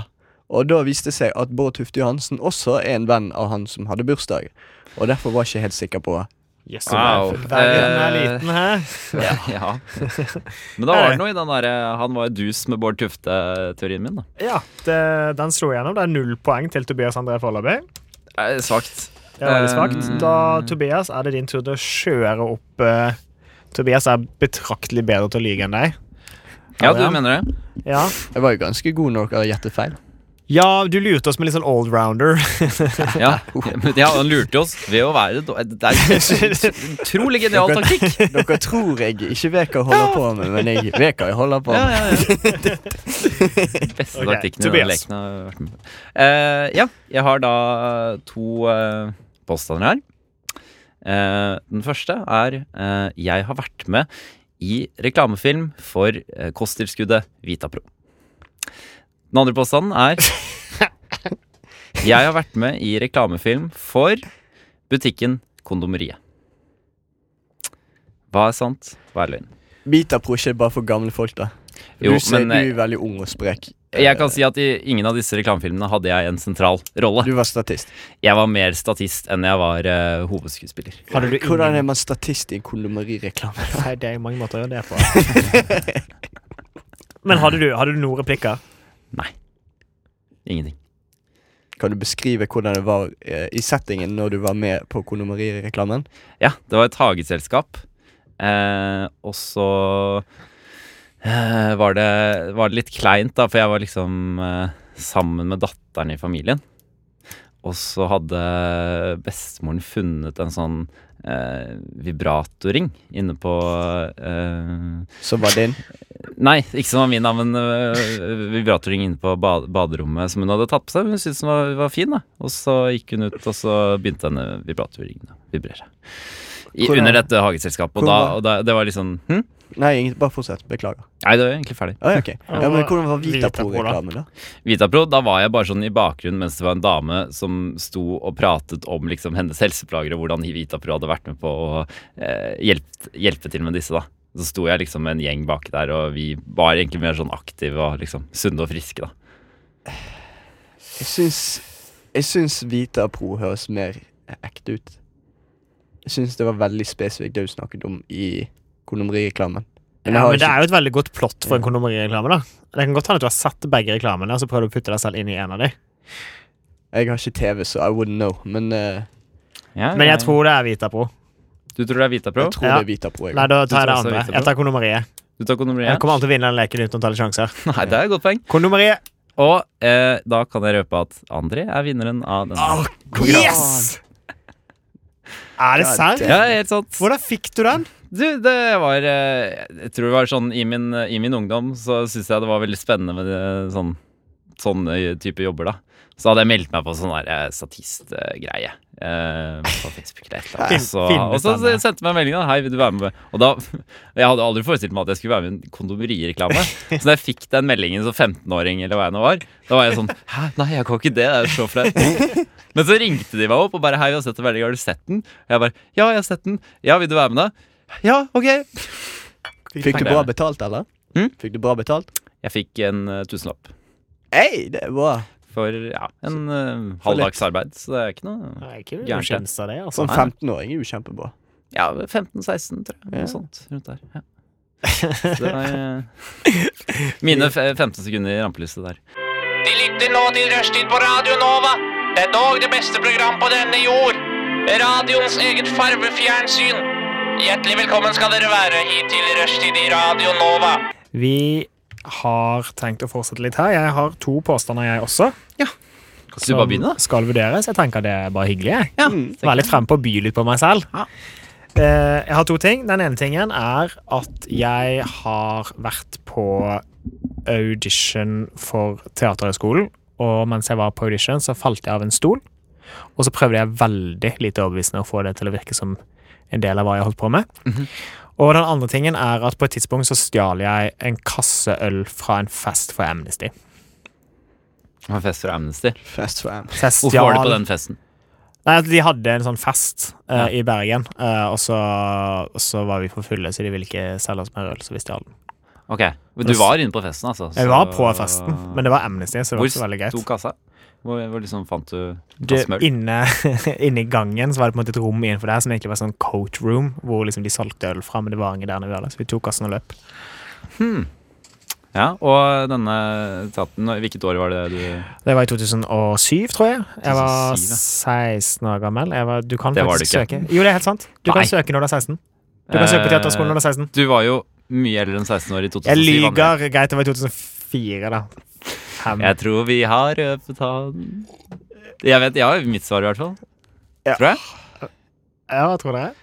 S1: Og da viste det seg at Bård Tufte Johansen også er en venn av han som hadde bursdag. Og derfor var jeg ikke helt sikker på
S2: Yes, Wow. verden er
S3: Eh,
S2: liten her.
S3: ja, ja. Men da var det noe i den derre han var dus med Bård Tufte-teorien min, da.
S2: Ja, det, den slo igjennom. Det er null poeng til Tobias André foreløpig.
S3: Eh, Svakt.
S2: Det er veldig svakt.
S1: Ehm,
S3: Eh,
S2: Da, Tobias, er det din tur til å kjøre opp eh, Tobias er betraktelig bedre til å lyge enn deg.
S1: Ja, du
S2: Adrian?
S1: mener det?
S2: Ja.
S1: Jeg var jo ganske god når dere gjettet feil.
S2: Ja, du lurte oss med litt sånn allrounder.
S3: Ja, men ja, han lurte oss ved å være do- Det er ut- utrolig genial
S1: Dere-
S3: taktikk.
S1: Dere tror jeg ikke vet hva jeg holder på med, men jeg vet hva jeg holder på med.
S3: Beste
S1: Ok,
S3: taktikken i denne
S1: Tobias.
S3: leken jeg har vært med på. Eh, ja, jeg har da to eh, påstander her. Eh, den første er eh, jeg har vært med i reklamefilm for eh, kosttilskuddet Vitapro. Den andre påstanden
S1: <laughs>
S3: er jeg har vært med i reklamefilm for butikken Kondomeriet. Hva er sant? Hva er løgn?
S1: Vitapro ikke er bare for gamle folk, da.
S3: Jo,
S1: du, ser,
S3: men- eh,
S1: du er veldig ung og sprek.
S3: Jeg kan si at i ingen av disse reklamefilmene hadde jeg en sentral rolle.
S1: Du var statist.
S3: Jeg var mer statist enn jeg var eh, hovedskuespiller.
S2: <laughs>
S1: Hvordan er man statist i en kondomerireklame?
S2: Nei, det er mange måter å gjøre det
S1: <laughs>
S2: på. Men hadde du, hadde du noen replikker?
S3: Ingenting.
S1: Kan du beskrive hvordan det var eh, i settingen når du var med på kondomerireklamen?
S3: Ja, det var et hageselskap. Eh, og så eh, var, det, var det litt kleint, da, for jeg var liksom eh, sammen med datteren i familien. Og så hadde bestemoren funnet en sånn eh, vibratoring inne på eh,
S1: Som var din?
S3: Nei, ikke som var min, da, men øh, vibratorring inne på ba baderommet som hun hadde tatt på seg. Hun syntes den var, var fin, da. Og så gikk hun ut, og så begynte denne vibratorringen å vibrere. I,
S1: Hvordan-
S3: under dette hageselskapet. Og, da,
S1: hvordan-
S3: og da, det var liksom hm?
S1: Nei, ingen- bare fortsett. Beklager.
S3: Nei, det var egentlig ferdig.
S1: Ah, ja, ok. Ja, men hvordan var Vitapro-reklamen, da?
S3: Vitapro, da var jeg bare sånn i bakgrunnen mens det var en dame som sto og pratet om liksom hennes helseplager og hvordan Vitapro hadde vært med på å eh, hjelpe, hjelpe til med disse, da. Så sto jeg liksom med en gjeng bak der, og vi var egentlig mer sånn aktive og liksom sunne og friske, da.
S1: Jeg syns, jeg syns Vitapro høres mer ekte ut. Jeg syns det var veldig spesifikt det du snakket om i kondomerireklamen.
S2: Ja,
S1: jeg har
S2: men Det
S1: ikke-
S2: er jo et veldig godt plott for en kondomerireklame. da Det kan godt hende at du har sett begge reklamene og så prøver du å putte deg selv inn i en av dem.
S1: Jeg har ikke TV, så I wouldn't know, men eh,
S2: Men jeg tror det er Vitapro.
S3: Du tror det er Vitapro?
S1: Jeg tror det er Vitapro.
S2: Nei, da tar jeg det andre. Jeg tar kondomeriet.
S3: Du tar kondomeriet?
S2: Jeg kommer alltid til å vinne den leken uten å ta litt sjanser.
S3: Nei, det er et godt poeng.
S2: Kondomeriet.
S3: Og eh, da kan jeg røpe at André er vinneren av denne.
S2: Yes! Er det
S3: Ja,
S2: sant?
S3: det- Ja, helt sant.
S2: Hvordan fikk du den?
S3: Du, det var eh, Jeg tror det var sånn i min, i min ungdom så syntes jeg det var veldig spennende med eh, sånn sånne type jobber, da. Så hadde jeg meldt meg på sånn der eh, statistgreie eh, på Facebook. eller et eller annet. Og så-
S10: Fin-
S3: Og så
S10: finnes
S3: sendte jeg meg en melding da. Hei, vil du være med? Og da, <laughs> Jeg hadde aldri forestilt meg at jeg skulle være med i en kondomerireklame. Så da jeg fikk den meldingen som 15-åring, eller hva jeg nå var, da var jeg sånn Hæ, nei, jeg kan ikke det. Det er jo så flaut. Men så ringte de meg opp og bare Hei, vi har sett en melding. Har du sett den? Og jeg bare Ja, jeg har sett den. Ja, vil du være med, da? Ja, OK.
S1: Fikk du bra betalt, eller?
S2: Hm?
S1: Fikk du bra betalt?
S3: Jeg fikk en eh, tusenlapp.
S1: Hei, det er bra.
S3: For ja, en eh,
S1: for lett.
S3: halvdags arbeid, så det er ikke noe
S2: Nei, ikke
S3: gærent, det.
S2: ukjent av det, altså.
S1: Som 15-åring er jo kjempebra.
S3: Ja, 15-16, tror jeg.
S1: Ja.
S3: Noe sånt rundt der.
S2: <laughs>
S3: Ja. Så det var, eh, mine fe- 15 sekunder i rampelyset der.
S16: De lytter nå til Rushtid på Radio Nova. Det er dog det beste program på denne jord. Radioens eget farvefjernsyn. Hjertelig velkommen skal dere være hit til Rushtid i Radio Nova.
S2: Vi har tenkt å fortsette litt her. Jeg har to påstander, jeg også.
S3: Skal du bare begynne, da? Mm,
S2: Skal vurderes. Jeg tenker det er bare hyggelig. jeg. Være litt frempå og by litt på meg selv. Eh, jeg har to ting. Den ene tingen er at jeg har vært på audition for Teaterhøgskolen. Og mens jeg var på audition, så falt jeg av en stol. Og så prøvde jeg veldig lite overbevisende å få det til å virke som en del av hva jeg holdt på med. Og den andre tingen er at på et tidspunkt så stjal jeg en kasse øl fra en fest for Amnesty.
S3: Det var Fest for Amnesty.
S1: Fest for Amnesty.
S2: Fest,
S3: Hvorfor var
S2: ja.
S3: du på den festen?
S2: Nei, at De hadde en sånn fest eh, i Bergen, eh, og, så, og så var vi for fulle, så de ville ikke selge oss mer øl, så vi stjal den.
S3: Ok, Men du var inne på festen, altså?
S2: Jeg var på festen, men det var Amnesty, så det var
S3: Hvor
S2: ikke så veldig greit.
S3: sto kassa? Hvor, hvor liksom fant du
S2: Det,
S3: kasse med øl?
S2: inne, <laughs> inne i gangen så var det på en måte et rom innenfor der som egentlig var sånn coat room, hvor liksom de solgte øl fra, men det var ingen der når vi var der, så vi tok kassen og løp.
S3: Hmm. Ja, og denne teateren Hvilket år var det du
S2: Det var i 2007, tror jeg. Jeg var
S3: 2007, ja.
S2: 16 år gammel. Jeg var, du kan
S3: Det var
S2: faktisk
S3: du ikke.
S2: søke. Jo, det er helt sant. Du
S3: Nei. Eh,
S2: kan søke når du er 16. Du kan søke på teaterskolen når du er 16.
S3: Du var jo mye eldre enn 16 år i 2007.
S2: Jeg
S3: André.
S2: lyger. Greit, det var i 2004, da. Fem.
S3: Jeg tror vi har røpet han Jeg vet, jeg har mitt svar i hvert fall. Tror jeg.
S2: Ja, hva tror dere?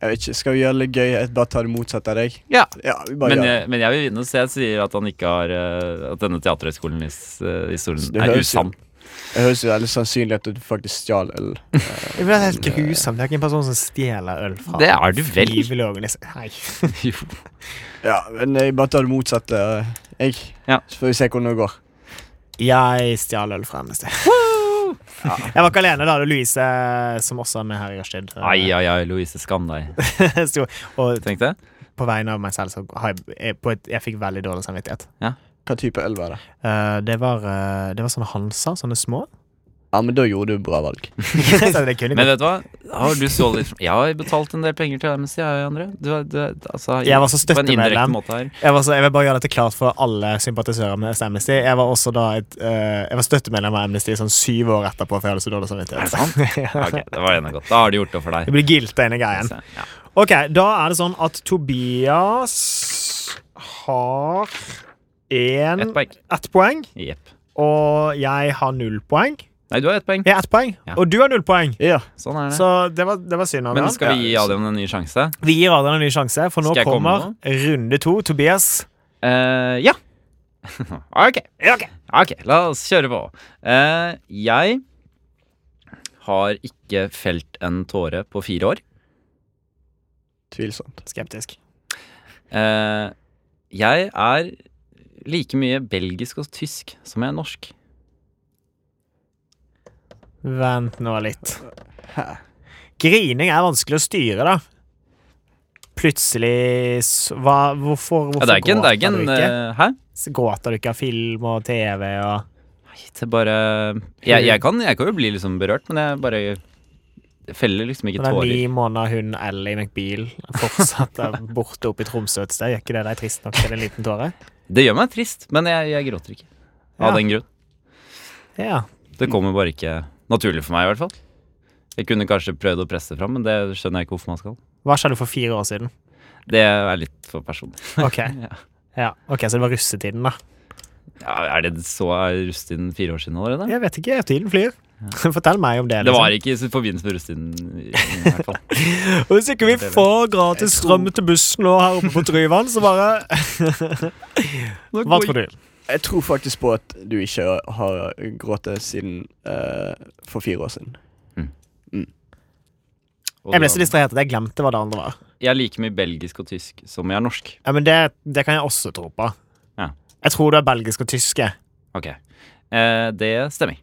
S1: Jeg vet ikke, Skal vi gjøre det litt gøy? Jeg bare tar det motsatte av deg?
S3: Ja.
S1: vi bare
S3: Men eh,
S1: gjør det.
S3: jeg, men jeg vil vinne, så jeg sier at han ikke har eh, At denne teaterhøgskolen i s- eh, historien
S1: Det
S3: er
S1: høres jo-
S3: usann.
S1: Det høres jo veldig sannsynlig at du faktisk stjal
S3: <laughs>
S1: øl. Eh,
S2: Det er helt grusomt. Jeg er ikke en person som stjeler øl fra
S1: Det er du vel.
S2: frivillig organis- Nei.
S1: Ja, men jeg bare tar det motsatte, eh, jeg. Så får vi se hvordan det går.
S2: Jeg stjal øl fra Amnesty. Jeg var ikke alene, da. Det var Louise, eh, som også er med her i rushtid. eh,
S3: Ai, ai, ai, Louise, skam deg.
S2: <laughs> sto og
S3: Tenk
S2: <laughs>
S3: det.
S2: På vegne av meg selv så har jeg, jeg, på et, jeg fikk veldig dårlig samvittighet.
S1: Hva type øl var det?
S2: Eh, det, var, eh, det var sånne Hansa, sånne
S3: <laughs>
S2: små. <laughs>
S1: Ja, men da gjorde du bra valg.
S2: Så det kunne
S3: Men
S2: gått.
S3: vet du hva? Har du stjålet litt fra- Jeg har betalt en del penger til Amnesty, jeg, André. Du, har- du, har- altså,
S2: jeg var så
S3: på en indirekte
S2: støttemedlem.
S3: måte her.
S2: Jeg, var så, jeg vil bare gjøre dette klart for alle sympatisører med Amnesty. Jeg var også da et, eh, Jeg var støttemedlem av Amnesty sånn syv år etterpå, for jeg hadde så dårlig samvittighet. <laughs>
S3: Ja, ok, det var ene godt. Da har de gjort det for deg.
S2: Det blir gildt, denne greien. Ok, da er det sånn at Tobias har en
S3: Ett poeng.
S2: Ett poeng.
S3: Jepp.
S2: Og jeg har null poeng.
S3: Nei, du har ett poeng.
S2: Jeg har ett poeng.
S3: Ja.
S2: Og du har null poeng.
S3: Sånn er det.
S2: Så det var, det var synd. Adrian.
S3: Men skal vi gi
S2: Ja.
S3: Adrian en ny sjanse?
S2: Vi gir Adrian en ny sjanse, for nå
S3: Skal jeg komme
S2: kommer runde to. Tobias. Eh,
S3: ja. <laughs> Ok. Ok, la oss kjøre på. Eh, jeg har ikke felt en tåre på fire år.
S1: Tvilsomt.
S2: Skeptisk.
S3: Eh, jeg er like mye belgisk og tysk som jeg er norsk.
S2: Vent nå litt. Grining er vanskelig å styre, da. Plutselig s- hva, Hvorfor, hvorfor
S3: Ja, det er ikke en-
S2: gråter
S3: det er ikke en,
S2: du ikke?
S3: eh, hæ?
S2: S- Gråter du ikke av film og TV og
S3: Det er bare Jeg, jeg, kan, jeg kan jo bli liksom berørt, men jeg bare feller liksom ikke
S2: Den er ni
S3: tårer.
S2: måneder hun Ellie McBeal
S3: <laughs>
S2: fortsatt er borte oppe i Tromsø et sted. Gjør ikke det deg trist nok til en liten tåre?
S3: Det gjør meg trist, men jeg, jeg gråter ikke. Av
S2: Ja.
S3: den grunn.
S2: Ja.
S3: Det kommer bare ikke naturlig for meg, i hvert fall. Jeg kunne kanskje prøvd å presse det fram, men det skjønner jeg ikke hvorfor man skal.
S2: Hva skjedde for fire år siden?
S3: Det er litt for personlig. <laughs>
S2: Ok, ja. ok, Så det var russetiden, da.
S3: Ja, er det så rusttiden fire år siden allerede?
S2: Jeg vet ikke. Tiden flyr. <laughs> Fortell meg om det. liksom.
S3: Det var ikke i forbindelse med rusttiden. i- i hvert fall.
S2: Og hvis ikke vi får gratis strøm til bussen nå her oppe på Tryvann, så
S3: <laughs>
S2: bare Hva tror du?
S1: Jeg tror faktisk på at du ikke har grått siden eh, for fire år siden.
S2: <laughs> Jeg ble så distrahert at jeg glemte hva det andre var.
S3: Jeg liker mye belgisk og tysk som jeg er norsk.
S2: Ja, men det, det kan jeg også tro på.
S3: Ja.
S2: Jeg tror du er belgisk og tyske.
S3: Ok. Eh, det stemmer.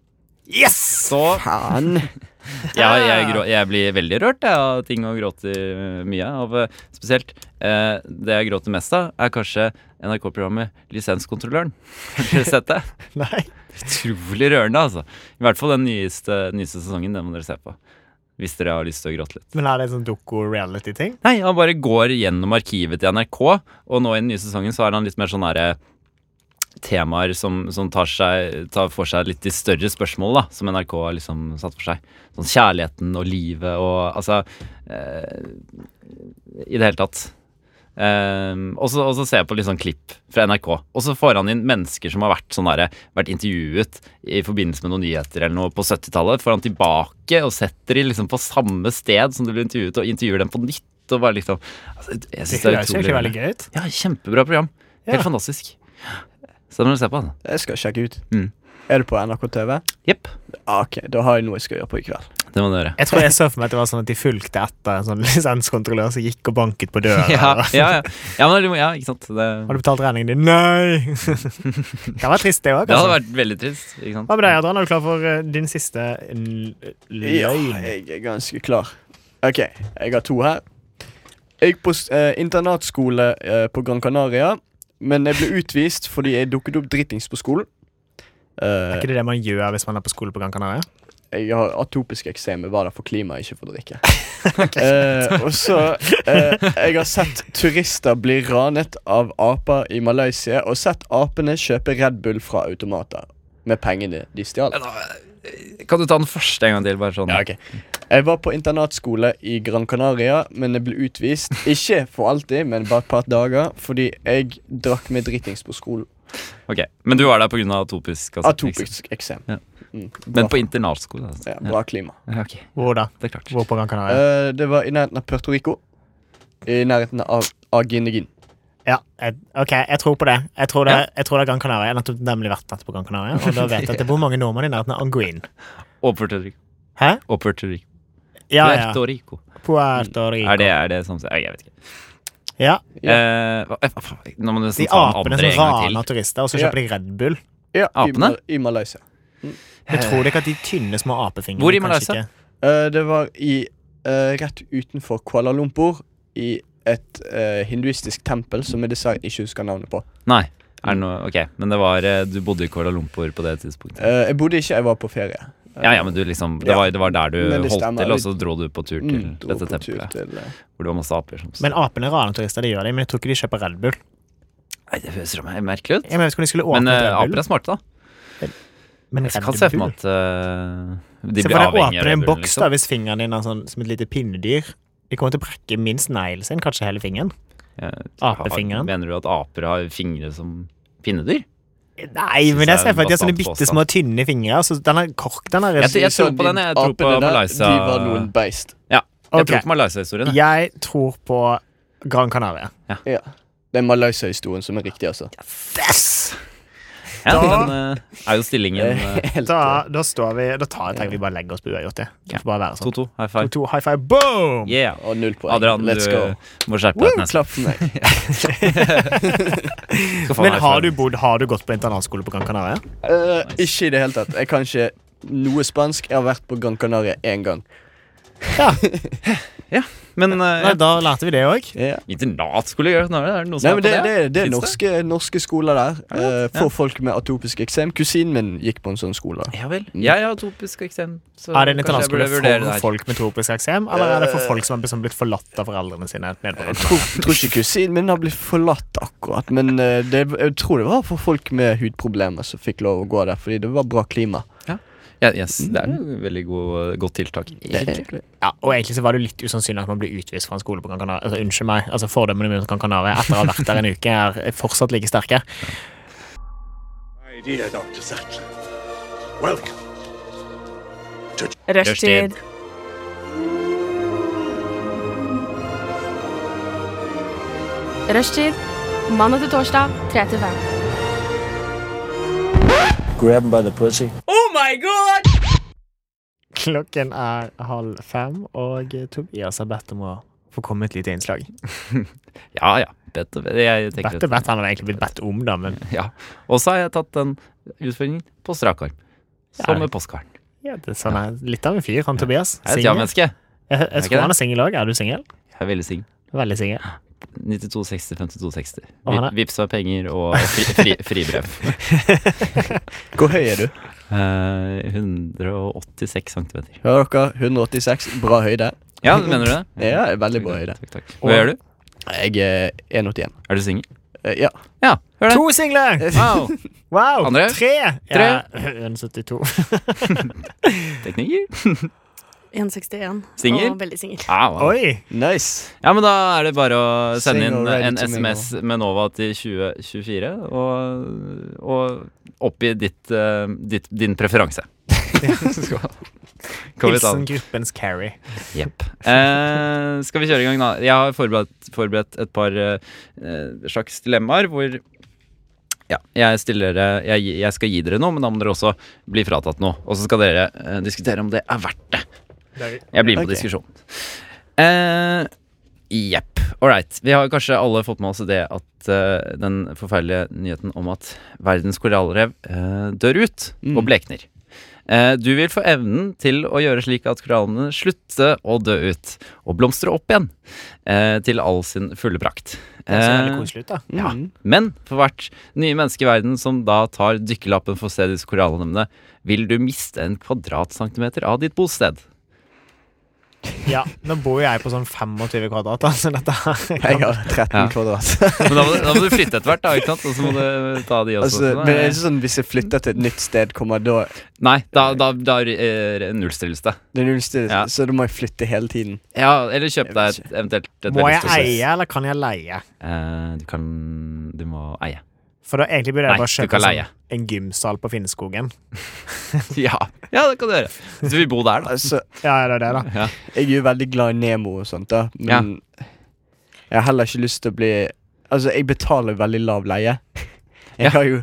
S2: Yes!
S3: Så Faen. <laughs> ja, jeg, grå, jeg blir veldig rørt jeg, av ting og gråter mye av. eh, Spesielt eh, det jeg gråter mest av, er kanskje NRK-programmet Lisenskontrolløren. Har dere sett det?
S2: <laughs> Nei.
S3: Utrolig rørende, altså. I hvert fall den nyeste, nyeste sesongen. Den må dere se på. Hvis dere har lyst til å gråte litt.
S2: Men er det en sånn doko-reality-ting?
S3: Nei, han bare går gjennom arkivet til NRK, og nå i den nye sesongen så er han litt mer sånn derre temaer som, som tar, seg, tar for seg litt de større spørsmål da, som NRK har liksom satt for seg. Sånn kjærligheten og livet og altså eh, I det hele tatt. Ehm, og, så, og så ser jeg på litt sånn klipp fra NRK, og så får han inn mennesker som har vært, sånn derre- vært intervjuet i forbindelse med noen nyheter eller noe på 70-tallet. Får han tilbake og setter de liksom på samme sted som de ble intervjuet, og intervjuer dem på nytt. Og bare liksom altså, Jeg syns det er
S2: høres jo
S3: utrolig
S2: egentlig veldig
S3: rørende.
S2: gøy ut.
S3: Ja, kjempebra program. Helt
S2: Ja.
S3: fantastisk. Så det må du se på. Altså.
S1: Jeg skal sjekke ut.
S3: Mm.
S1: Er det på NRK TV?
S3: Jepp.
S1: Ok, da har jeg noe jeg skal gjøre på i kveld.
S3: Det må du gjøre.
S2: Jeg tror jeg så for meg at det var sånn at de fulgte etter en sånn <laughs> lisenskontrollør som gikk og banket på døra.
S3: <laughs> Ja,
S2: og-
S3: ja, ja. ja, men, du må- ja ikke sant. Det,
S2: Har du betalt regningen din? Nei! <laughs> det kan være trist, det òg.
S3: det hadde vært veldig trist. Ikke sant?
S2: altså- Hva med deg, Adrian? Er du klar for eh, din siste l-
S1: Ja,
S2: løgn?
S1: jeg er ganske klar. Ok, jeg har to her. Jeg gikk på s- eh, internatskole eh, på Gran Canaria, men jeg ble utvist fordi jeg dukket opp dritings på skolen.
S2: Er
S1: Eh,
S2: ikke det det man gjør hvis man er på skole på Gran Canaria?
S1: jeg har atopisk eksem. Jeg var der for klimaet, ikke for drikke. Eh, og så eh, Jeg har sett turister bli ranet av aper i Malaysia, og sett apene kjøpe Red Bull fra automater med pengene de stjal.
S3: eh, Kan du ta den første en gang til? Bare sånn.
S1: Ja, ok. Jeg var på internatskole i Gran Canaria, men jeg ble
S3: <laughs>
S1: utvist. Ikke for alltid, men bare et par dager, fordi jeg drakk med dritings på skolen.
S3: Ok, Men du var der pga. atopisk altså,
S1: Atopisk eksem.
S3: Ja.
S1: Mm, bra.
S3: Men på internatskole? Altså.
S1: Ja, bra klima.
S3: Ja, ok.
S2: Hvor da?
S3: Det er klart.
S2: Hvor på Gran Canaria?
S1: Eh, det var i nærheten av Puerto Rico. I nærheten av Aginegin.
S2: Ja, jeg, ok, jeg tror på det. Jeg tror det, jeg tror det er Gran Canaria. Jeg har nettopp nemlig vært nettopp på Gran Canaria, og da vet jeg at det bor mange nordmenn i nærheten av Anguin.
S3: Og Puerto Rico.
S2: Hæ?
S3: Og Puerto Rico.
S2: Ja, ja.
S3: Puerto Rico.
S2: Puerto Rico.
S3: Er det, er det sånn Jeg vet ikke.
S2: Ja.
S3: Eh, hva- eh, faen, nå må du nesten
S2: De
S3: ta den
S2: apene
S3: andre
S2: som
S3: en gang til.
S2: raner turister, og så
S1: Ja.
S2: kjøper de Red Bull.
S1: Ja, i,
S3: Apene?
S1: Ma- I Malaysia.
S2: Men tror dere ikke at de tynne små apefingrene
S3: Hvor i
S2: kanskje
S3: Malaysia?
S2: ikke-
S1: Eh, det var i eh, rett utenfor Kuala Lumpur, i et eh, hinduistisk tempel som jeg dessverre ikke husker navnet på.
S3: Nei. Er det noe, ok, Men det var, eh, du bodde i Kuala Lumpur på det tidspunktet?
S1: Eh, jeg bodde ikke, jeg var på ferie.
S3: Ja, ja, men du liksom, det,
S1: Ja.
S3: var, det var der
S1: Men
S3: du
S1: det
S3: holdt
S1: stemmer.
S3: til, og så dro du på tur til
S1: Mm, dro
S3: dette
S1: på tur
S3: tempelet.
S1: til, eh,
S3: Hvor det var masse aper som
S2: Men apene raner turister, det gjør de, men jeg tror ikke de kjøper Red Bull.
S3: Nei, Det høres meg merkelig ut.
S2: Jeg mener, skulle de skulle åpne
S3: Men eh,
S2: Red Bull?
S3: aper er smarte, da.
S2: Men
S3: Jeg
S2: Red
S3: kan se for
S2: Bull?
S3: meg at eh, de
S2: Se
S3: blir
S2: for deg
S3: avhengig av
S2: åpner en
S3: Red Bullen,
S2: boks da
S3: liksom.
S2: hvis fingeren din er sånn som et lite pinnedyr. De kommer til å brekke minst neglen sin, kanskje hele fingeren.
S3: Ja,
S2: Apefingeren.
S3: har- Mener du at aper har fingre som pinnedyr?
S2: Nei,
S3: det
S2: men jeg
S3: er
S2: ser for meg at de
S3: bastant
S2: har sånne bitte små, tynne fingre. Altså, den er kork, den er
S3: Jeg, tror- jeg tror
S1: Så
S3: på
S1: de
S3: den. Jeg tror på
S1: apene der,
S3: Malaysia.
S1: De var noen beist.
S3: Ja, jeg
S2: Ok.
S3: tror på Malaysia-historien. jeg.
S2: Jeg tror på Gran Canaria.
S1: Ja. Det er Malaysia-historien som er riktig, altså.
S2: Yes!
S3: Ja,
S2: Da-
S3: den eh, er jo stillingen eh,
S2: Da, da står vi Da tar jeg tenker vi bare legger oss på uavgjort, det. Det får bare være sånn.
S3: 2-2. High five.
S2: 2-2, high five, boom!
S3: Yeah.
S1: Og null poeng.
S3: Adrian,
S1: Let's
S3: du
S1: go.
S3: må skjerpe
S1: Woo,
S3: deg til neste.
S1: <laughs> klapp for
S3: <laughs>
S1: meg.
S3: Skal faen
S2: Men
S3: high
S2: har
S3: five.
S2: du, bodd, har du gått på internatskole på Gran Canaria?
S1: Eh, ikke i det hele tatt. Jeg kan ikke noe spansk. Jeg har vært på Gran Canaria én gang.
S3: Men eh,
S2: Nei, da lærte vi det òg.
S1: Ja.
S3: internatskole gjør det? Er det noe som
S1: Nei,
S3: er
S1: men
S3: på
S1: det,
S3: det?
S1: det, det er
S3: Finnes
S1: norske, norske skoler der. eh, for folk med atopisk eksem. Kusinen min gikk på en sånn skole.
S3: Ja vel. Jeg har atopisk eksem. så
S2: Er det
S3: kanskje jeg
S2: en internatskole
S3: burde vurdere det
S2: for
S3: her. Eh,
S2: folk med tropisk eksem, eller er det for folk som har blitt forlatt av foreldrene sine? nede på
S1: Eh, Jeg
S2: landet?
S1: tror, tror ikke kusinen min har blitt forlatt akkurat, men eh, det, jeg tror det var for folk med hudproblemer som fikk lov å gå der, fordi det var bra klima.
S3: Ja, yes, det er jo veldig god, eh, godt tiltak.
S1: Det,
S2: Mm. Ja, og egentlig så var det jo litt usannsynlig at man ble utvist fra en skole på Gran Canaria. Altså, unnskyld meg, altså fordommene mine mot Gran Canaria etter å ha vært der en uke er fortsatt like sterke.
S13: Dear Dr. Sattler, welcome.
S8: Rushtid. Rushtid. Mandag til torsdag, 3 til 5.
S13: Grab him by the pussy.
S2: Klokken er halv fem, og Tobias har bedt om å få komme med et lite innslag.
S3: Ja ja. Bedt og bedt. Jeg tenker
S2: Bedt og
S3: at-
S2: bedt, han har egentlig blitt bedt om, da, men
S3: Ja. Og så har jeg tatt den utfordringen på strak arm. Som
S2: Ja.
S3: med postkaren.
S2: ja, det er sånn er litt av en fyr, han Tobias.
S3: Jeg er et
S2: Single.
S3: ja-menneske.
S2: Jeg, jeg
S3: ikke
S2: tror han
S3: det?
S2: er singel òg. Er du singel?
S3: Jeg er veldig sing.
S2: Veldig singel.
S3: 9260, 5260.
S2: Og han er-
S3: Vips meg penger
S2: <laughs>
S3: og fri, fri, fribrev.
S1: Hvor høy er du?
S3: Eh, 186 cm.
S1: Hører dere? 186. Bra høyde.
S3: Ja, mener du det?
S1: Ja, veldig bra høyde.
S3: Takk, takk. Hva gjør du?
S1: Jeg eh, er 181.
S3: Er du singel?
S1: Eh, Ja.
S3: Ja, hør det.
S2: To single!
S3: Wow.
S2: Wow!
S3: Andre?
S2: Eh, Tre!
S3: Tre.
S2: Ja, 172.
S3: Teknikker.
S11: <laughs> 1,61.
S3: Singel?
S11: Og veldig singel.
S3: Ja, wow.
S2: <laughs> Oi!
S1: Nice.
S3: Ja, men da er det bare å sende
S1: Single
S3: inn
S1: ready
S3: en
S1: to mingle.
S3: SMS med Nova til 2024 og, og oppgi ditt, eh, ditt, din preferanse. Skal kan vi ta
S2: Hilsen
S3: den?
S2: gruppens Carrie.
S3: Jepp. Eh, skal vi kjøre i gang, eh, da? Jeg har forberedt, forberedt et par eh, slags dilemmaer hvor ja, jeg, stiller, dere- jeg, jeg skal gi dere noe, men da må dere også bli fratatt noe. Og så skal dere eh, diskutere om det er verdt det. Jeg blir med på
S10: Ok.
S3: diskusjonen. Eh, Jepp. All right. Vi har kanskje alle fått med oss det at eh, den forferdelige nyheten om at verdens korallrev eh, dør ut
S2: Mm.
S3: og blekner. Eh, du vil få evnen til å gjøre slik at korallene slutter å dø ut og blomstre opp igjen eh, til all sin fulle prakt.
S2: Det ser veldig
S3: Eh,
S2: koselig ut, da.
S3: Ja.
S1: Mm.
S3: Men for hvert nye menneske i verden som da tar dykkerlappen for å se disse korallene, vil du miste en kvadratcentimeter av ditt bosted.
S2: Ja, Nå bor jo jeg på sånn 25 kvadrat, da, så dette her
S1: Jeg har 13
S3: Ja.
S1: kvadrat. <laughs>
S3: Men da må, du- da må du flytte etter hvert, da, ikke sant? Og så må du eh, ta de også.
S1: Altså, men er det ikke sånn hvis jeg flytter til et nytt sted, kommer da
S3: Nei, da, da, da eh, er det nullstilles det.
S1: det er null sted, så da må jeg flytte hele tiden?
S3: Ja, eller kjøp deg et, eventuelt et
S2: Må
S3: veldig
S2: jeg
S3: stort sted.
S2: eie, eller kan jeg leie?
S3: Eh, du kan Du må <laughs> eie.
S2: For da egentlig burde
S3: Nei,
S2: jeg bare
S3: du
S2: kjøpe
S3: kan
S2: sånn,
S3: leie.
S2: en gymsal på Finnskogen.
S3: ja. ja, det kan du gjøre. Hvis du vil bo der, da.
S1: <laughs>
S2: ja, det er det, da.
S1: Altså, Jeg er jo veldig glad i Nemo og sånt, da, men jeg har heller ikke lyst til å bli Altså, jeg betaler veldig lav leie. Jeg har jo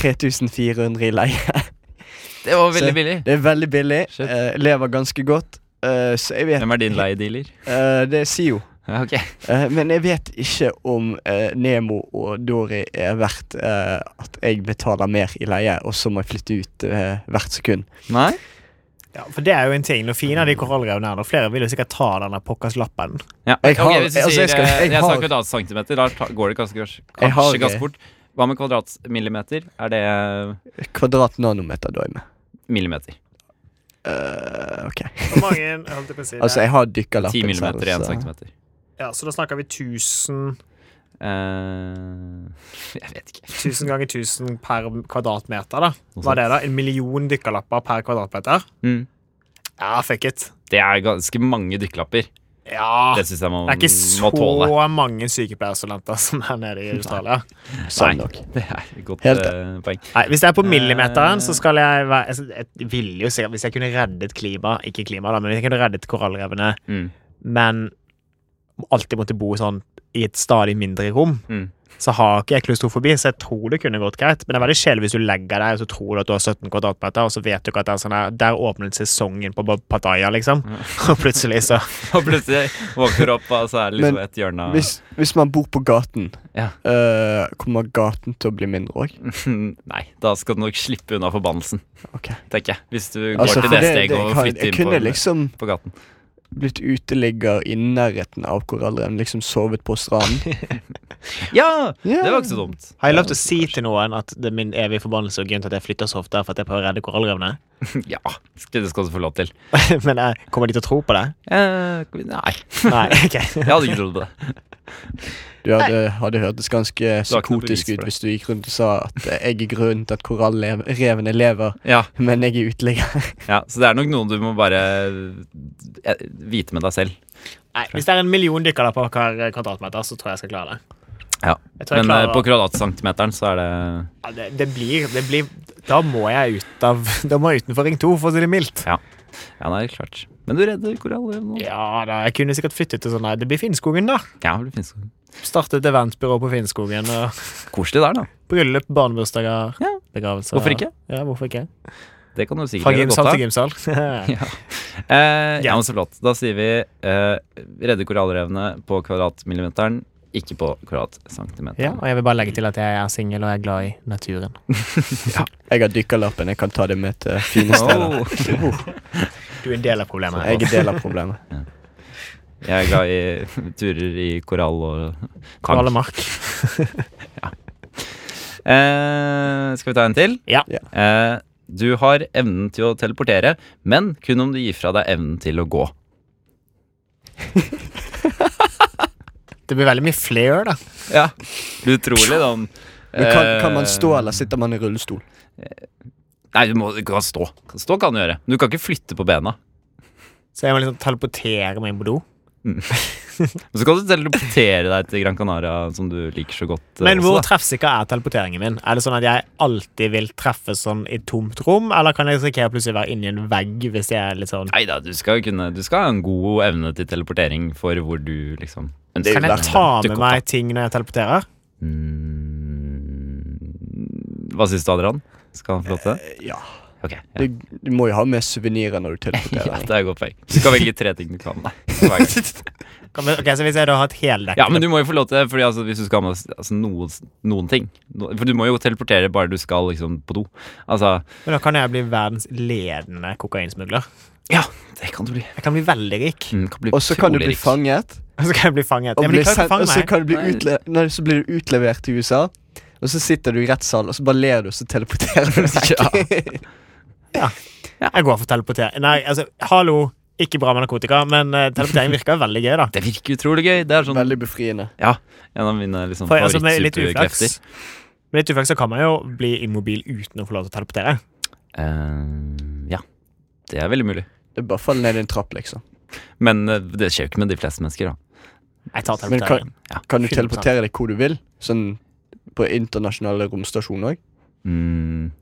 S1: 3400 i leie. <laughs>
S3: Det var
S1: Så
S3: veldig billig.
S1: Det er veldig billig. eh, lever ganske godt. eh, så jeg vet
S3: Hvem er din leiedealer?
S1: Eh, det er SIO.
S3: Ja, ok.
S1: Eh, men jeg vet ikke om eh, Nemo og Dory er verdt eh, at jeg betaler mer i leie, og så må jeg flytte ut eh, hvert sekund.
S3: Nei?
S2: Ja, for det er jo en ting. Noe fint av de korallrevene her. og Flere vil jo sikkert ta denne pokkers lappen.
S3: Ja.
S1: Jeg har-
S3: ok, hvis du
S1: altså,
S3: sier
S1: jeg skal-
S3: eh,
S1: jeg
S3: jeg
S1: har-
S3: sa kvadratcentimeter, da ta- går det ganske, kanskje,
S1: Jeg har
S3: kanskje ganske
S1: det.
S3: fort. Hva med kvadratmillimeter? Er det eh,
S1: Kvadratnanometer, da er jeg med.
S3: millimeter?
S1: Eh, ok.
S2: <laughs>
S1: <laughs>
S2: Hvor mange holdt jeg på å si?
S1: altså, jeg har dykkerlappen
S3: 10 millimeter i
S1: selv,
S3: 1
S1: så-
S3: centimeter.
S2: Ja, Så da snakker vi 1000
S3: Eh, <laughs> jeg vet ikke.
S2: 1000 ganger 1000 per kvadratmeter, da.
S3: Noe
S2: Hva er det,
S3: sånt.
S2: da? En million dykkerlapper per kvadratmeter?
S3: Mm.
S2: Ja, fuck it.
S3: Det er ganske mange dykkelapper.
S2: Ja.
S1: Ah,
S3: Det syns jeg man
S2: Det er ikke
S3: må tåle. <laughs>
S2: så mange sykepleierstudenter som er nede i Australia.
S1: Sånn
S3: Nei,
S1: nok.
S3: Det er et godt
S1: Helt-
S3: eh, poeng.
S2: Nei, Hvis det er på millimeteren, så skal jeg være altså, Jeg ville jo sikkert Hvis jeg kunne reddet klima Ikke klima, da, men hvis jeg kunne reddet korallrevene,
S3: Mm.
S2: men alltid måtte bo sånn i et stadig mindre rom,
S3: Mm.
S2: så har ikke jeg klaustrofobi, så jeg tror det kunne gått greit. Men det er veldig kjedelig hvis du legger deg og så tror du at du har 17 kvadratmeter, og så vet du ikke at det er sånn her Der åpnet sesongen på Pattaya, liksom. <laughs> Og plutselig så
S3: <laughs> <laughs> Og plutselig våkner du opp, og så er det liksom
S1: Men
S3: et hjørne av
S1: Hvis, hvis man bor på gaten,
S3: Ja.
S1: eh, kommer gaten til å bli mindre òg?
S3: <laughs> Nei, da skal du nok slippe unna forbannelsen,
S1: Ok.
S3: tenker jeg. Hvis du går
S1: Altså,
S3: til
S1: for
S3: det
S1: det-
S3: steget
S1: det
S3: og
S1: kan-
S3: flytter
S1: jeg
S3: inn på,
S1: kunne liksom-
S3: på gaten.
S1: Blitt uteligger i nærheten av korallreven, liksom sovet på
S3: <laughs>
S1: stranden.
S3: Ja!
S1: Ja.
S3: Det var ikke så dumt. <laughs>
S2: Har jeg lov til å si til noen at det er min evige forbannelse og grunn til at jeg flytter så ofte, er for at jeg prøver å redde korallrevene? <laughs>
S3: Ja, det skal du få lov til.
S2: Men eh, kommer de til å tro
S3: <laughs>
S2: på det?
S3: Eh, nei.
S2: Nei, ok.
S3: Jeg hadde ikke trodd på
S1: <laughs>
S3: det.
S1: Du hadde, hadde hørtes ganske
S3: Du har ikke noe bevis
S1: psykotisk ut
S3: for det.
S1: hvis du gikk rundt og sa at eh, jeg er grunnen til at korallrevene lever,
S3: Ja,
S1: men jeg er uteligger.
S3: ja, Så det er nok noen du må bare eh, vite med deg selv.
S2: Nei, Hvis det er en million dykker der på hver kvadratmeter, så tror jeg jeg skal klare det.
S3: Ja.
S2: Jeg tror
S3: Men
S2: jeg
S3: eh,
S2: klarer-
S3: på kvadratcentimeteren så er det
S2: Ja, det, det, blir, det blir Da må jeg ut av <laughs> Da må jeg utenfor Ring 2, for å si det mildt.
S3: Ja, ja nei, klart. Men du redder korallrev nå.
S2: Ja da, jeg kunne sikkert flyttet til sånn Nei, det blir Finnskogen, da.
S3: Ja, det finnes jo-
S2: Startet eventbyrå på Finnskogen. Og <laughs>
S3: Koselig der, da.
S2: bryllup, barnebursdager,
S3: Ja.
S2: begravelser.
S3: Hvorfor ikke?
S2: Ja, hvorfor ikke?
S3: Det kan du sikkert
S2: Fra
S3: gjøre godt
S2: gymsal
S3: av. <laughs>
S2: til gymsal.
S3: Ja. Eh, ja, men så flott. Da sier vi eh, redde korallrevene på kvadratmillimeteren, ikke på
S2: ja,
S3: kvadratcentimeteren.
S2: og jeg vil bare legge til at jeg er singel og jeg er glad i naturen.
S1: Jeg har dykkerlappen, jeg kan ta det med til fine steder.
S3: Oh.
S2: Du er en del av problemet. her.
S1: Jeg er del av problemet.
S3: Jeg er glad i turer i korall og tang.
S2: Kalle Mark.
S3: Eh, skal vi ta en til?
S2: Ja.
S1: Ja.
S3: Eh, du har evnen til å teleportere, men kun om du gir fra deg evnen til å gå.
S2: Det blir veldig mye flair, da.
S3: Ja, Utrolig, da. Eh,
S1: Men kan, kan man stå,
S2: Eh,
S1: eller sitter man i rullestol?
S3: Nei, du, må, du kan stå. Stå kan du gjøre. Men du kan ikke flytte på bena.
S2: Så jeg må liksom teleportere meg inn på do.
S3: Men så kan du teleportere deg til Gran Canaria, som du liker så godt. eh,
S2: Men hvor
S3: også, da.
S2: treffsikker er teleporteringen min? Er det sånn at jeg alltid vil treffe sånn i et tomt rom, eller kan jeg risikere plutselig å være inni en vegg hvis jeg er litt sånn
S3: Nei da, du skal kunne Du skal ha en god evne til teleportering for hvor du liksom
S2: Kan jeg
S3: deg.
S2: ta
S3: Du
S2: med
S3: kan-
S2: meg ting når jeg teleporterer?
S3: Mm, Hva syns du, Adrian? Skal han få lov til Eh, det?
S1: Ja.
S3: Ok, ja.
S1: Du, du må jo ha med suvenirer når du teleporterer.
S3: <laughs> Ja, det er et godt poeng. Du kan velge tre ting du kan. hver gang.
S2: Ok, Så hvis jeg da har et heldekkende
S3: Ja, men du må jo få lov til det, Fordi altså, hvis du skal ha med altså, noen, noen ting no, For du må jo teleportere bare du skal liksom på do. Altså,
S2: Men da kan jeg bli verdens ledende kokainsmugler.
S3: Ja, det kan du bli.
S2: Jeg kan bli veldig rik. <laughs>
S3: Mm,
S1: Og så kan du bli fanget.
S2: Og så kan jeg bli fanget.
S1: Og,
S2: Ja, men de
S1: bli
S2: kan jo ikke
S1: sendt,
S2: fange
S1: og så,
S2: meg.
S1: kan du bli
S2: Nei.
S1: utle nei, så blir du utlevert til USA, og så sitter du i rettssalen, og så bare ler du, og så teleporterer du <laughs> deg.
S2: Ja. Jeg går for teleportering. Nei, altså, hallo. Ikke bra med narkotika, men eh, teleportering virker veldig gøy, da.
S3: Det virker utrolig gøy. Det er sånn
S1: Veldig befriende.
S3: Ja, en av mine liksom,
S2: For altså, med litt uflaks
S3: favorittsuperkrefter.
S2: Med litt uflaks så kan man jo bli immobil uten å få lov til å teleportere.
S3: Eh, ja. Det er veldig mulig.
S1: Det er bare å falle ned i en trapp, liksom.
S3: Men eh, det skjer jo ikke med de fleste mennesker, da.
S2: Jeg tar
S1: Men
S2: teleportering.
S1: kan, kan du teleportere deg hvor du vil? Sånn på internasjonale romstasjoner òg?
S3: Mm,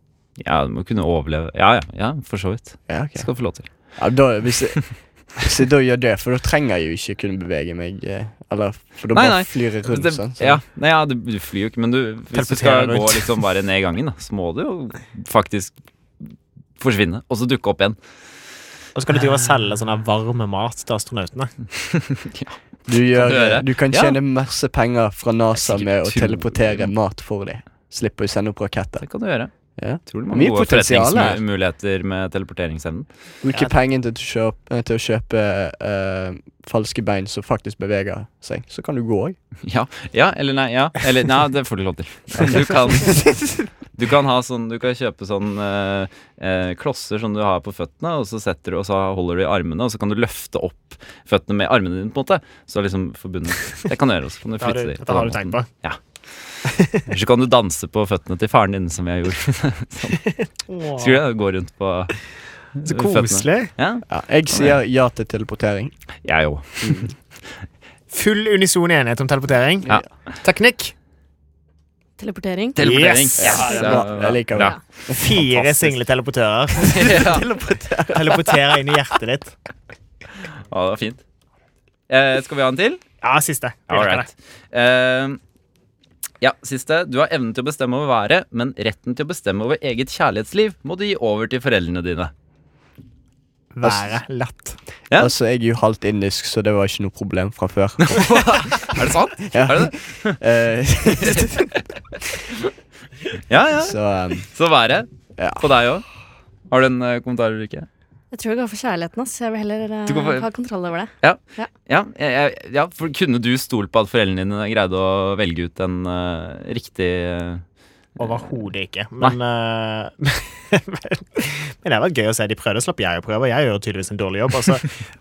S3: ja, du må kunne overleve. Ja, ja, ja for så vidt.
S1: Ja, ok.
S3: Skal få lov til.
S1: Ja, da, hvis jeg, <laughs> hvis jeg da gjør det, for da trenger jeg jo ikke kunne bevege meg. eh, Eller, for da bare flyr jeg rundt
S3: Det-
S1: sånn. så-
S3: Ja, nei, ja du, du flyr jo ikke, men du, hvis du skal
S1: Teleporterer
S3: gå
S1: deg ut.
S3: liksom bare ned i gangen, da, så må du jo faktisk forsvinne, og så dukke opp igjen.
S2: Og så kan du drive og selge sånn her varme mat til astronautene.
S1: Du, gjør,
S2: Døre.
S1: du kan
S2: Ja.
S1: tjene masse penger fra NASA med å teleportere mat for dem. Slipper å sende opp raketter.
S3: Det kan du gjøre.
S1: Ja.
S3: Utrolig mange
S1: Mye
S3: gode
S1: potensial her.
S3: forretningsmuligheter med teleporteringsevnen.
S1: Bruke pengene til, å kjøp- eh, til å kjøpe eh, falske bein som faktisk beveger seg. Så kan du gå òg.
S3: <laughs> Ja, ja, eller nei, ja. Eller nei, det får du lov til. Du kan, du kan ha sånn Du kan kjøpe sånn eh, eh, klosser som du har på føttene, og så setter du, og så holder du i armene, og så kan du løfte opp føttene med armene dine, på en måte. Så liksom forbundet. Det kan du gjøre også. Kan du
S2: <laughs> Det har
S3: flytte
S2: du,
S3: de på
S2: dette har
S3: den
S2: du tenkt
S3: måten.
S2: på. <laughs>
S3: Ja. Eller så kan du danse på føttene til faren din, som jeg gjorde. sånn.
S2: Åh.
S3: Skulle jeg gå rundt på
S2: Så
S3: føttene.
S2: koselig.
S3: Ja.
S1: jeg sier ja til teleportering.
S3: Jeg òg.
S2: Full unison enighet om teleportering.
S3: Ja.
S2: Teknikk.
S11: Teleportering.
S2: Teleportering.
S11: Yes.
S2: Ja, det er bra.
S1: Jeg liker det.
S2: Fire single teleportører. Teleporterer inn i hjertet ditt.
S3: <laughs> Ja, det var fint. Eh, skal vi ha en til?
S2: Ja, siste. Vi
S3: All
S2: rekker
S3: right. Eh, ja, siste. Du har evnen til å bestemme over været, men retten til å bestemme over eget kjærlighetsliv må du gi over til foreldrene dine.
S2: Været lett.
S1: Altså, jeg er jo halvt indisk, så det var ikke noe problem fra før. Eh,
S3: Er det sant?
S2: <laughs>
S1: Ja.
S3: <laughs> Er det det?
S1: <laughs>
S3: Ja, ja.
S1: Så, um,
S3: Så været. På deg òg. Har du en eh, kommentar, Ulrikke?
S11: Jeg tror jeg går for kjærligheten. ass. Jeg vil heller eh,
S3: Du går for-
S11: ha kontroll over det.
S3: Ja.
S11: Ja.
S3: Ja, jeg- jeg- ja, for kunne du stolt på at foreldrene dine greide å velge ut en eh, riktig eh,
S2: Overhodet ikke. Men, eh, <laughs> men det har vært gøy å se. De prøvde å slappe jeg og prøve, og jeg gjør tydeligvis en dårlig jobb. Altså,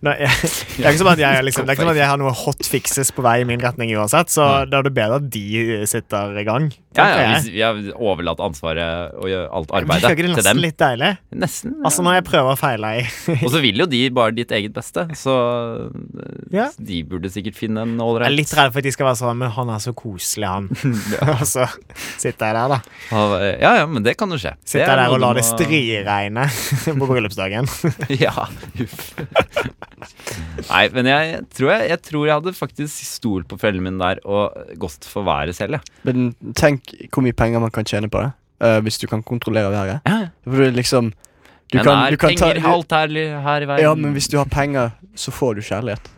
S2: når jeg, <laughs> det er ikke som at jeg, liksom, det er ikke som at jeg har noe hot fixes på vei i min retning uansett, så da er det bedre at de eh, sitter i gang.
S3: Ja,
S2: tenker
S3: ja,
S2: jeg.
S3: hvis vi har overlatt ansvaret og gjør alt arbeidet
S2: Virker ikke det
S3: til
S2: nesten
S3: dem.
S2: litt deilig?
S3: Nesten.
S2: Altså, når jeg prøver og feiler i
S3: Og så vil jo de bare ditt eget beste, så eh,
S2: Ja.
S3: de burde sikkert finne en
S2: Jeg er
S3: ålreit
S2: litt redd for at de skal være sånn Men han er så koselig,
S3: <laughs>
S2: han. og så sitter jeg der, da.
S3: eh, Ja, ja, men det kan jo skje. Det
S2: Sitter
S3: er
S2: jeg der og
S3: noe
S2: lar
S3: du
S2: det
S3: må-
S2: striregne <laughs> på bryllupsdagen.
S3: <laughs> Ja, uff. Nei, men jeg tror jeg, jeg tror jeg hadde faktisk stolt på foreldrene mine der og gått for været selv, jeg.
S1: Men tenk hvor mye penger man kan tjene på det. eh, hvis du kan kontrollere været. For det er liksom du
S3: Men
S1: kan,
S3: er
S1: du kan ta,
S3: penger alt her, her i verden?
S1: Ja, men hvis du har penger, så får du kjærlighet.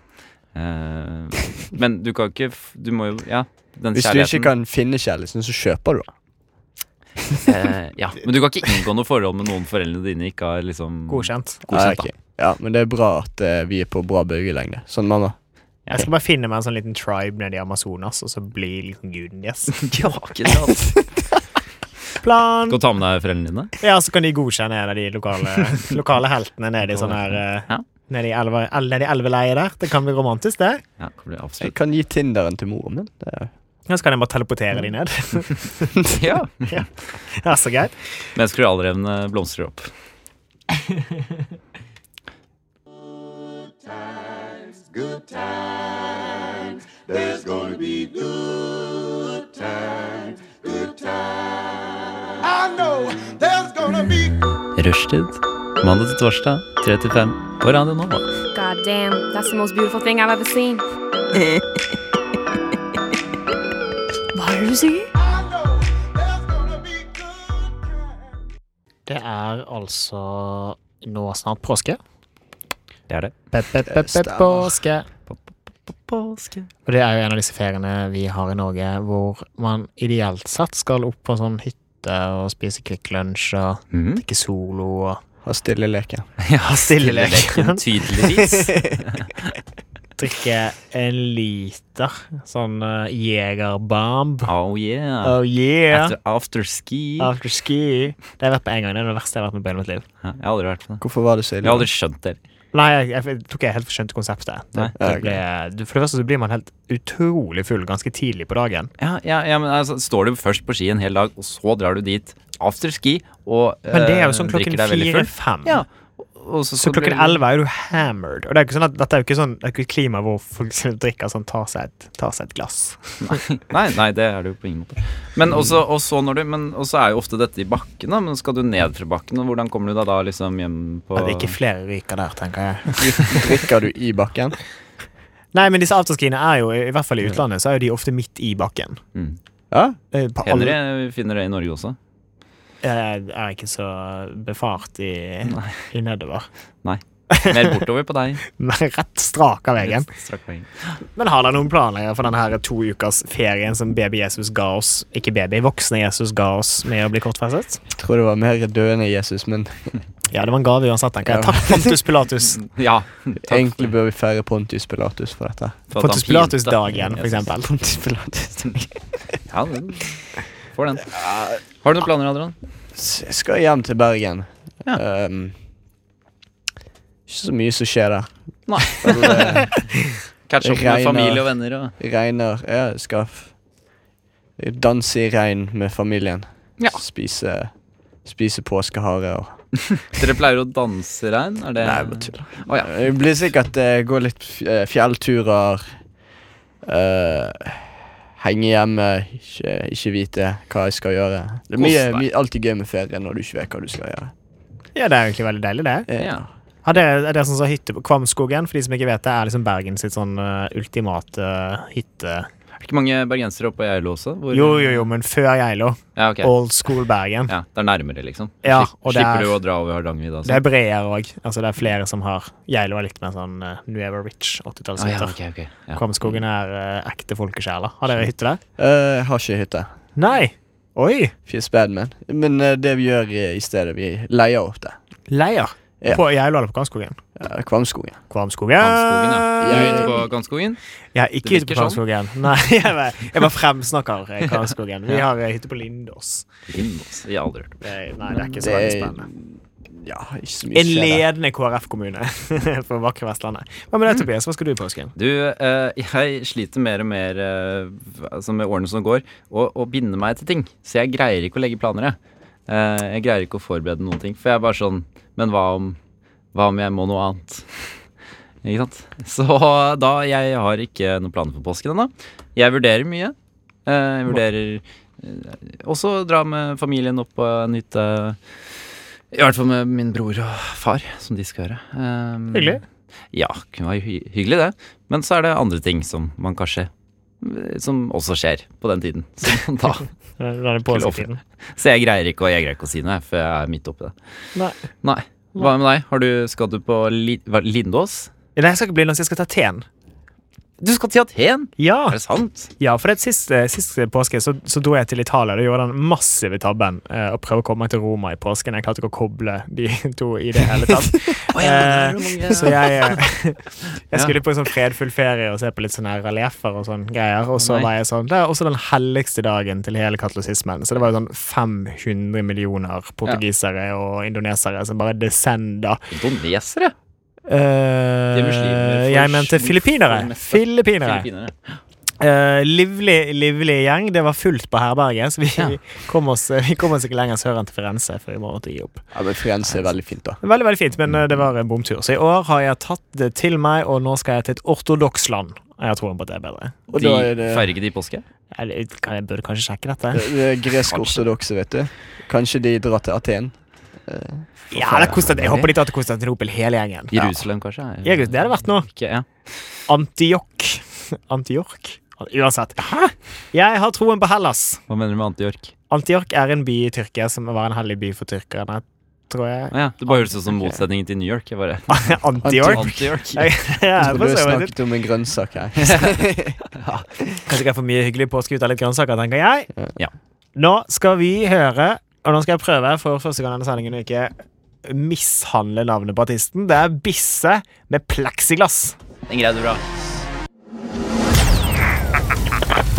S3: Eh, men du kan ikke f- Du må jo Ja, den
S1: Hvis du ikke kan finne kjærligheten, så kjøper du den.
S3: Eh, ja, Men du kan ikke inngå noe forhold med noen foreldrene dine ikke har liksom
S2: Godkjent.
S3: Godkjent,
S1: Ja, ok. ja, men det er bra at eh, vi er på bra bølgelengde. Sånn, mamma.
S2: Jeg skal bare finne meg en sånn liten tribe nede i Amazonas, og så bli liksom guden deres.
S3: ja, ikke sant? Skal
S2: Plan!
S3: du ta med deg foreldrene dine?
S2: Ja, så kan de godkjenne en av de lokale, lokale heltene nede i sånn her eh, Nede i, elva, el, nede i elveleiet der. Det kan bli romantisk, det.
S3: Ja, det blir
S1: Jeg
S3: absolutt
S1: kan gi Tinderen til moren min. Det er
S2: Ja, så kan jeg bare teleportere de ned. <laughs>
S3: Ja.
S2: Ja, så greit.
S3: Menneskeralderevne blomstrer opp.
S17: Good times. There's gonna be good times. Good times. I know there's gonna be.
S3: Rushtid. Mandag til torsdag, 3 til 5 på Radio Nova.
S8: God damn, that's the most beautiful thing I've ever seen.
S11: Hva er det du sier?
S2: Det er altså nå snart påske.
S3: Det er det.
S2: Pe-pe-pe-påske.
S3: Påske.
S2: Og det er jo en av disse feriene vi har i Norge hvor man ideelt sett skal opp på en sånn hytte og spise Kvikk Lunsj og
S3: Mm. <laughs>
S2: drikke solo og
S1: Ha stille leken.
S2: Ja, stille leken.
S3: Tydeligvis. <laughs>
S2: drikke en liter sånn uh, Jegerbomb.
S3: Oh yeah.
S2: Oh yeah.
S3: After, after ski.
S2: After ski. Det har jeg vært på én gang. Det er det verste jeg har vært med på i hele mitt liv.
S3: Ja, Jeg har aldri vært på det.
S1: Hvorfor var det så
S3: Jeg
S1: ille?
S3: har aldri skjønt det.
S2: Nei, jeg, jeg tror ikke jeg helt skjønte konseptet. Det,
S3: Nei.
S2: det
S3: Ja, ok.
S2: ble, du, for det første så blir man helt utrolig full ganske tidlig på dagen.
S3: Ja, ja, ja, men altså, Står du først på ski en hel dag, og så drar du dit after ski og
S2: Men det er
S3: eh,
S2: jo sånn klokken
S3: drikker deg veldig full.
S2: fire-fem.
S3: Ja, og
S2: Så,
S3: skal du
S2: klokken
S3: bli-
S2: elleve er du hammered. Og det er jo ikke sånn at, dette er jo ikke sånn, det er ikke et klima hvor folk <laughs> som drikker sånn, tar seg et, tar seg et glass.
S3: Nei, nei, det er det jo på ingen måte. Men også, også når du, men også er jo ofte dette i bakken, da. Men skal du ned fra bakken, og hvordan kommer du deg da liksom hjem på
S2: At ikke flere ryker der, tenker jeg.
S1: Drikker du i bakken?
S2: Nei, men disse afterskiene er jo, i hvert fall i utlandet, så er jo de ofte midt i bakken.
S3: Mm.
S1: Ja?
S2: Eh, På
S3: Hender
S2: alle,
S3: det- vi finner det i Norge også?
S2: jeg er ikke så befart i, i nedover.
S3: Nei. Mer bortover på
S2: <laughs>
S3: deg.
S2: Men rett strak av veien.
S3: Strakk veien.
S2: Men har dere noen planer for denne her to ukers ferien som baby Jesus ga oss? Ikke baby, voksne Jesus ga oss med å bli kortfestet?
S1: Jeg tror det var mer dødende Jesus, men
S2: Ja, det var en gave uansett, tenker jeg. Takk, Pontus Pilatus.
S3: <laughs> Ja. Takk
S1: egentlig bør vi feire Pontius Pilatus for dette.
S3: for at han
S2: Pontus
S3: pinte
S2: Pilatus-dagen, for
S3: Jesus.
S2: eksempel.
S1: Pontius Pilatus.
S3: Ja, den- får den. Har du noen planer, Adrian?
S1: Så Jeg skal hjem til Bergen. Um, ikke så mye som skjer der.
S3: Nei.
S1: Men, eh,
S3: Catch opp med
S1: regner.
S3: familie og venner og
S1: regner Ja, skaff Danse i regn med familien.
S3: Ja.
S1: Spise, spise påskehare og
S3: Dere pleier å danse i regn? Er det
S1: Nei, jeg bare tuller.
S3: Å, ja.
S1: Det blir sikkert eh, gå litt f- eh, fjellturer. eh, henge hjemme, ikke, ikke vite hva jeg skal gjøre. Det er mye,
S3: Kos deg.
S1: mye, alltid gøy med ferie når du ikke vet hva du skal gjøre.
S2: Ja, det er egentlig veldig deilig, det.
S1: Eh,
S3: Ja.
S2: Ja, det er, er det sånn som hytte på Kvamskogen, for de som ikke vet det, er liksom Bergen sitt sånn eh, ultimate eh, hytte...
S3: Er det ikke mange bergensere oppe i Geilo også? Hvor-
S2: Jo, jo, jo, men før Geilo.
S3: Ja, eh, ok.
S2: Old school Bergen.
S3: ja, det er nærmere, liksom.
S2: Ja,
S3: Slipp-
S2: og det
S3: Slipper
S2: er-
S3: du å dra over Hardangervidda?
S2: Det er bredere òg. Altså, det er flere som har Geilo er litt mer sånn uh, New Ever Rich, 80-tallshytter.
S3: ja, ok, ok. Ja.
S2: Kvamskogen er eh, ekte folkesjeler. Har dere hytte der?
S1: eh, jeg har ikke hytte.
S2: Nei! Oi!
S1: Fisbadman. Men eh, det vi gjør eh, i stedet, vi leier opp det.
S2: Leier.
S1: Ja.
S2: På Geilo eller på Kvamskogen?
S1: Eh, Kvamskogen.
S3: Gamskogen,
S2: Kvamskogen.
S3: ja. Du er
S1: Jeg-
S3: ute på Gamskogen?
S2: Jeg er ikke
S3: Det
S2: ute på
S3: virker sånn.
S2: Kvamskogen. <laughs> Nei, jeg bare, jeg bare fremsnakker
S3: <laughs>
S2: eh, Kvamskogen. Vi har eh, hytte på Lindås.
S3: Lindås. Jeg har aldri hørt om.
S2: Det, er- nei, det er ikke
S1: Det
S2: så veldig
S1: er-
S2: spennende.
S1: Ja, ikke så mye
S2: En
S1: skjer der.
S2: ledende <laughs> KrF-kommune for vakre Vestlandet. Hva med deg, Tobias? Hva skal du i påsken?
S3: Du, eh, jeg sliter mer og mer eh, altså med årene som går, å å binde meg til ting. Så jeg greier ikke å legge planer, jeg. Eh, jeg greier ikke å forberede noen ting. For jeg er bare sånn Men hva om, hva om jeg må noe annet? <laughs> ikke sant? Så da Jeg har ikke noen planer for påsken ennå. Jeg vurderer mye. Eh, jeg vurderer eh, også dra med familien opp på en hytte. I hvert fall med min bror og far, som de skal gjøre. Eh,
S2: Hyggelig.
S3: Ja, kunne være hy hyggelig det. Men så er det andre ting som man kanskje Som også skjer på den tiden. <laughs> Så, da,
S2: Det er påsketiden.
S3: så jeg greier ikke og jeg greier ikke å si noe, for jeg er midt oppi det.
S2: Nei.
S3: Nei. Hva med deg? Har du, skal du på Li hva, Lindås?
S2: Nei, jeg skal ikke bli noen, jeg skal ta teen.
S3: Du skal til Aten!
S2: Ja,
S3: Er det sant?
S2: ja for det siste, siste eh, påske så, så dro jeg til Italia. Da gjorde jeg den massive tabben eh, å prøve å komme meg til Roma i påsken. Jeg klarte ikke å koble de <laughs> to i det hele <laughs> tatt.
S3: ja, det er
S2: Eh,
S3: mange-
S2: så jeg, <laughs> eh, jeg skulle på en sånn fredfull ferie og se på litt sånne her reliefer og sånn greier. Og så
S3: Nei.
S2: var jeg sånn Det er også den helligste dagen til hele katolisismen. Så det var jo sånn 500 millioner portugisere og indonesere som bare descender.
S3: Indonesere?
S2: Eh,
S3: De er muslimer.
S2: jeg mente filippinere. Filippinere.
S3: Filippinere.
S2: Eh, livlig, livlig gjeng. Det var fullt på herberget, så vi, vi, <laughs> kom oss, vi kom oss ikke lenger sør enn til Firenze. For vi måtte gi opp.
S1: Ja, men Firenze er veldig fint, da.
S2: Veldig veldig fint, men eh, det var en bomtur. Så i år har jeg tatt det til meg, og nå skal jeg til et ortodoks land. Jeg har troen på at det er bedre.
S1: Og
S3: De
S1: da er det,
S3: feirer ikke de påske?
S2: Eller, kan jeg burde kanskje sjekke dette.
S1: Eh, det er gresk-ortodokse, vet du. Kanskje de drar til Aten.
S2: Ja, det er Konstant- Jeg håper de tar til Konstantinopel, hele gjengen.
S3: Jerusalem, kanskje? Er-
S2: Jeg, det hadde vært noe.
S3: Ikke, ja.
S2: Antiok. <laughs> Antiork. Uansett. Hæ? Jeg har troen på Hellas.
S3: Hva mener du med Antijork?
S2: Antiork er en by i Tyrkia som var en hellig by for tyrkerne tror jeg.
S10: Ja, det bare høres ut som motsetningen til New York. Jeg bare
S2: <laughs> Anti-York?
S10: Anti-York.
S2: Jeg- <laughs> jeg er
S1: Jeg
S2: for
S1: trodde du
S2: så vidt-
S1: snakket om en grønnsak her.
S2: ja. Kanskje ikke jeg får mye hyggelig påske ut av litt grønnsaker, tenker jeg. Nå skal vi høre, og nå skal jeg prøve for første gang i denne sendingen å ikke mishandle navnet på artisten. Det er Bisse med plexiglass.
S3: Den greide du bra.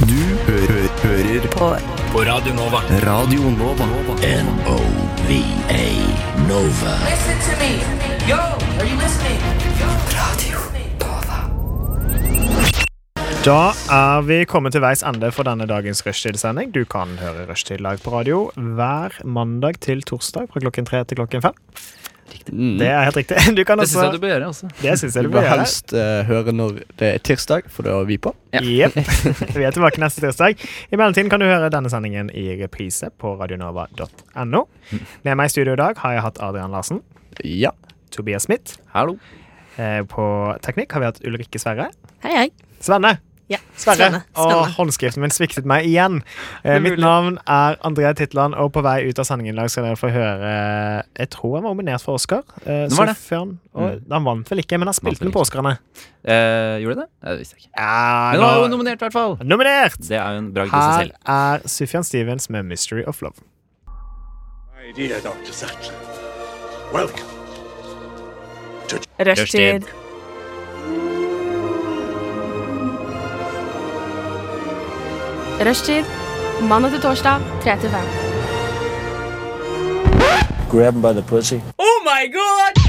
S14: Du hører, hører på. på Radio Nova. Radio Nova. N-O-V-A Nova.
S15: Listen to me. Yo, are you listening? Yo.
S2: Da er vi kommet til veis ende for denne dagens rushtidssending. Du kan høre Rushtid live på radio hver mandag til torsdag fra klokken tre til klokken fem. <laughs>
S1: Mm.
S2: Det er helt riktig. <laughs> Du kan
S10: Det
S2: også
S10: synes jeg du bør gjøre, altså.
S2: Det synes jeg du
S1: bør
S2: bør gjøre.
S1: helst eh, høre når det er tirsdag, for da er vi på.
S2: Jep. Vi er tilbake neste tirsdag. I mellomtiden kan du høre denne sendingen i reprise på radionova.no. Med meg i studio i dag har jeg hatt Adrian Larsen.
S1: Ja.
S2: Tobias Smith. Eh,
S10: Hallo.
S2: På teknikk har vi hatt Ulrikke Sverre.
S11: Hei, hei.
S2: Svenne.
S11: Ja,
S2: Sverre.
S11: Svenne. Svenne.
S2: Og håndskriften min sviktet meg igjen. Eh,
S11: Det er
S2: mitt
S11: mulig.
S2: navn er André Titland, og på vei ut av sendingen i dag skal dere få høre eh, Jeg tror han var nominert for Oscar. Eh,
S10: Den var det. Mm.
S2: så før han, og, han vant vel ikke, men han spilte den på Oscarene.
S10: Eh, gjorde det det? Nei, Det visste jeg ikke.
S2: Men
S10: det var jo nominert, i hvert fall.
S2: Nominert!
S10: Det er jo en bragd i seg
S2: Her
S10: selv.
S2: er Sufjan Stevens med 'Mystery of Love'.
S13: My dear Dr. Satchel, welcome to
S18: Rushtid.
S8: Rushtid. Mandag til torsdag, 3 til 5.
S13: Grab him by the pussy.
S18: Oh my god!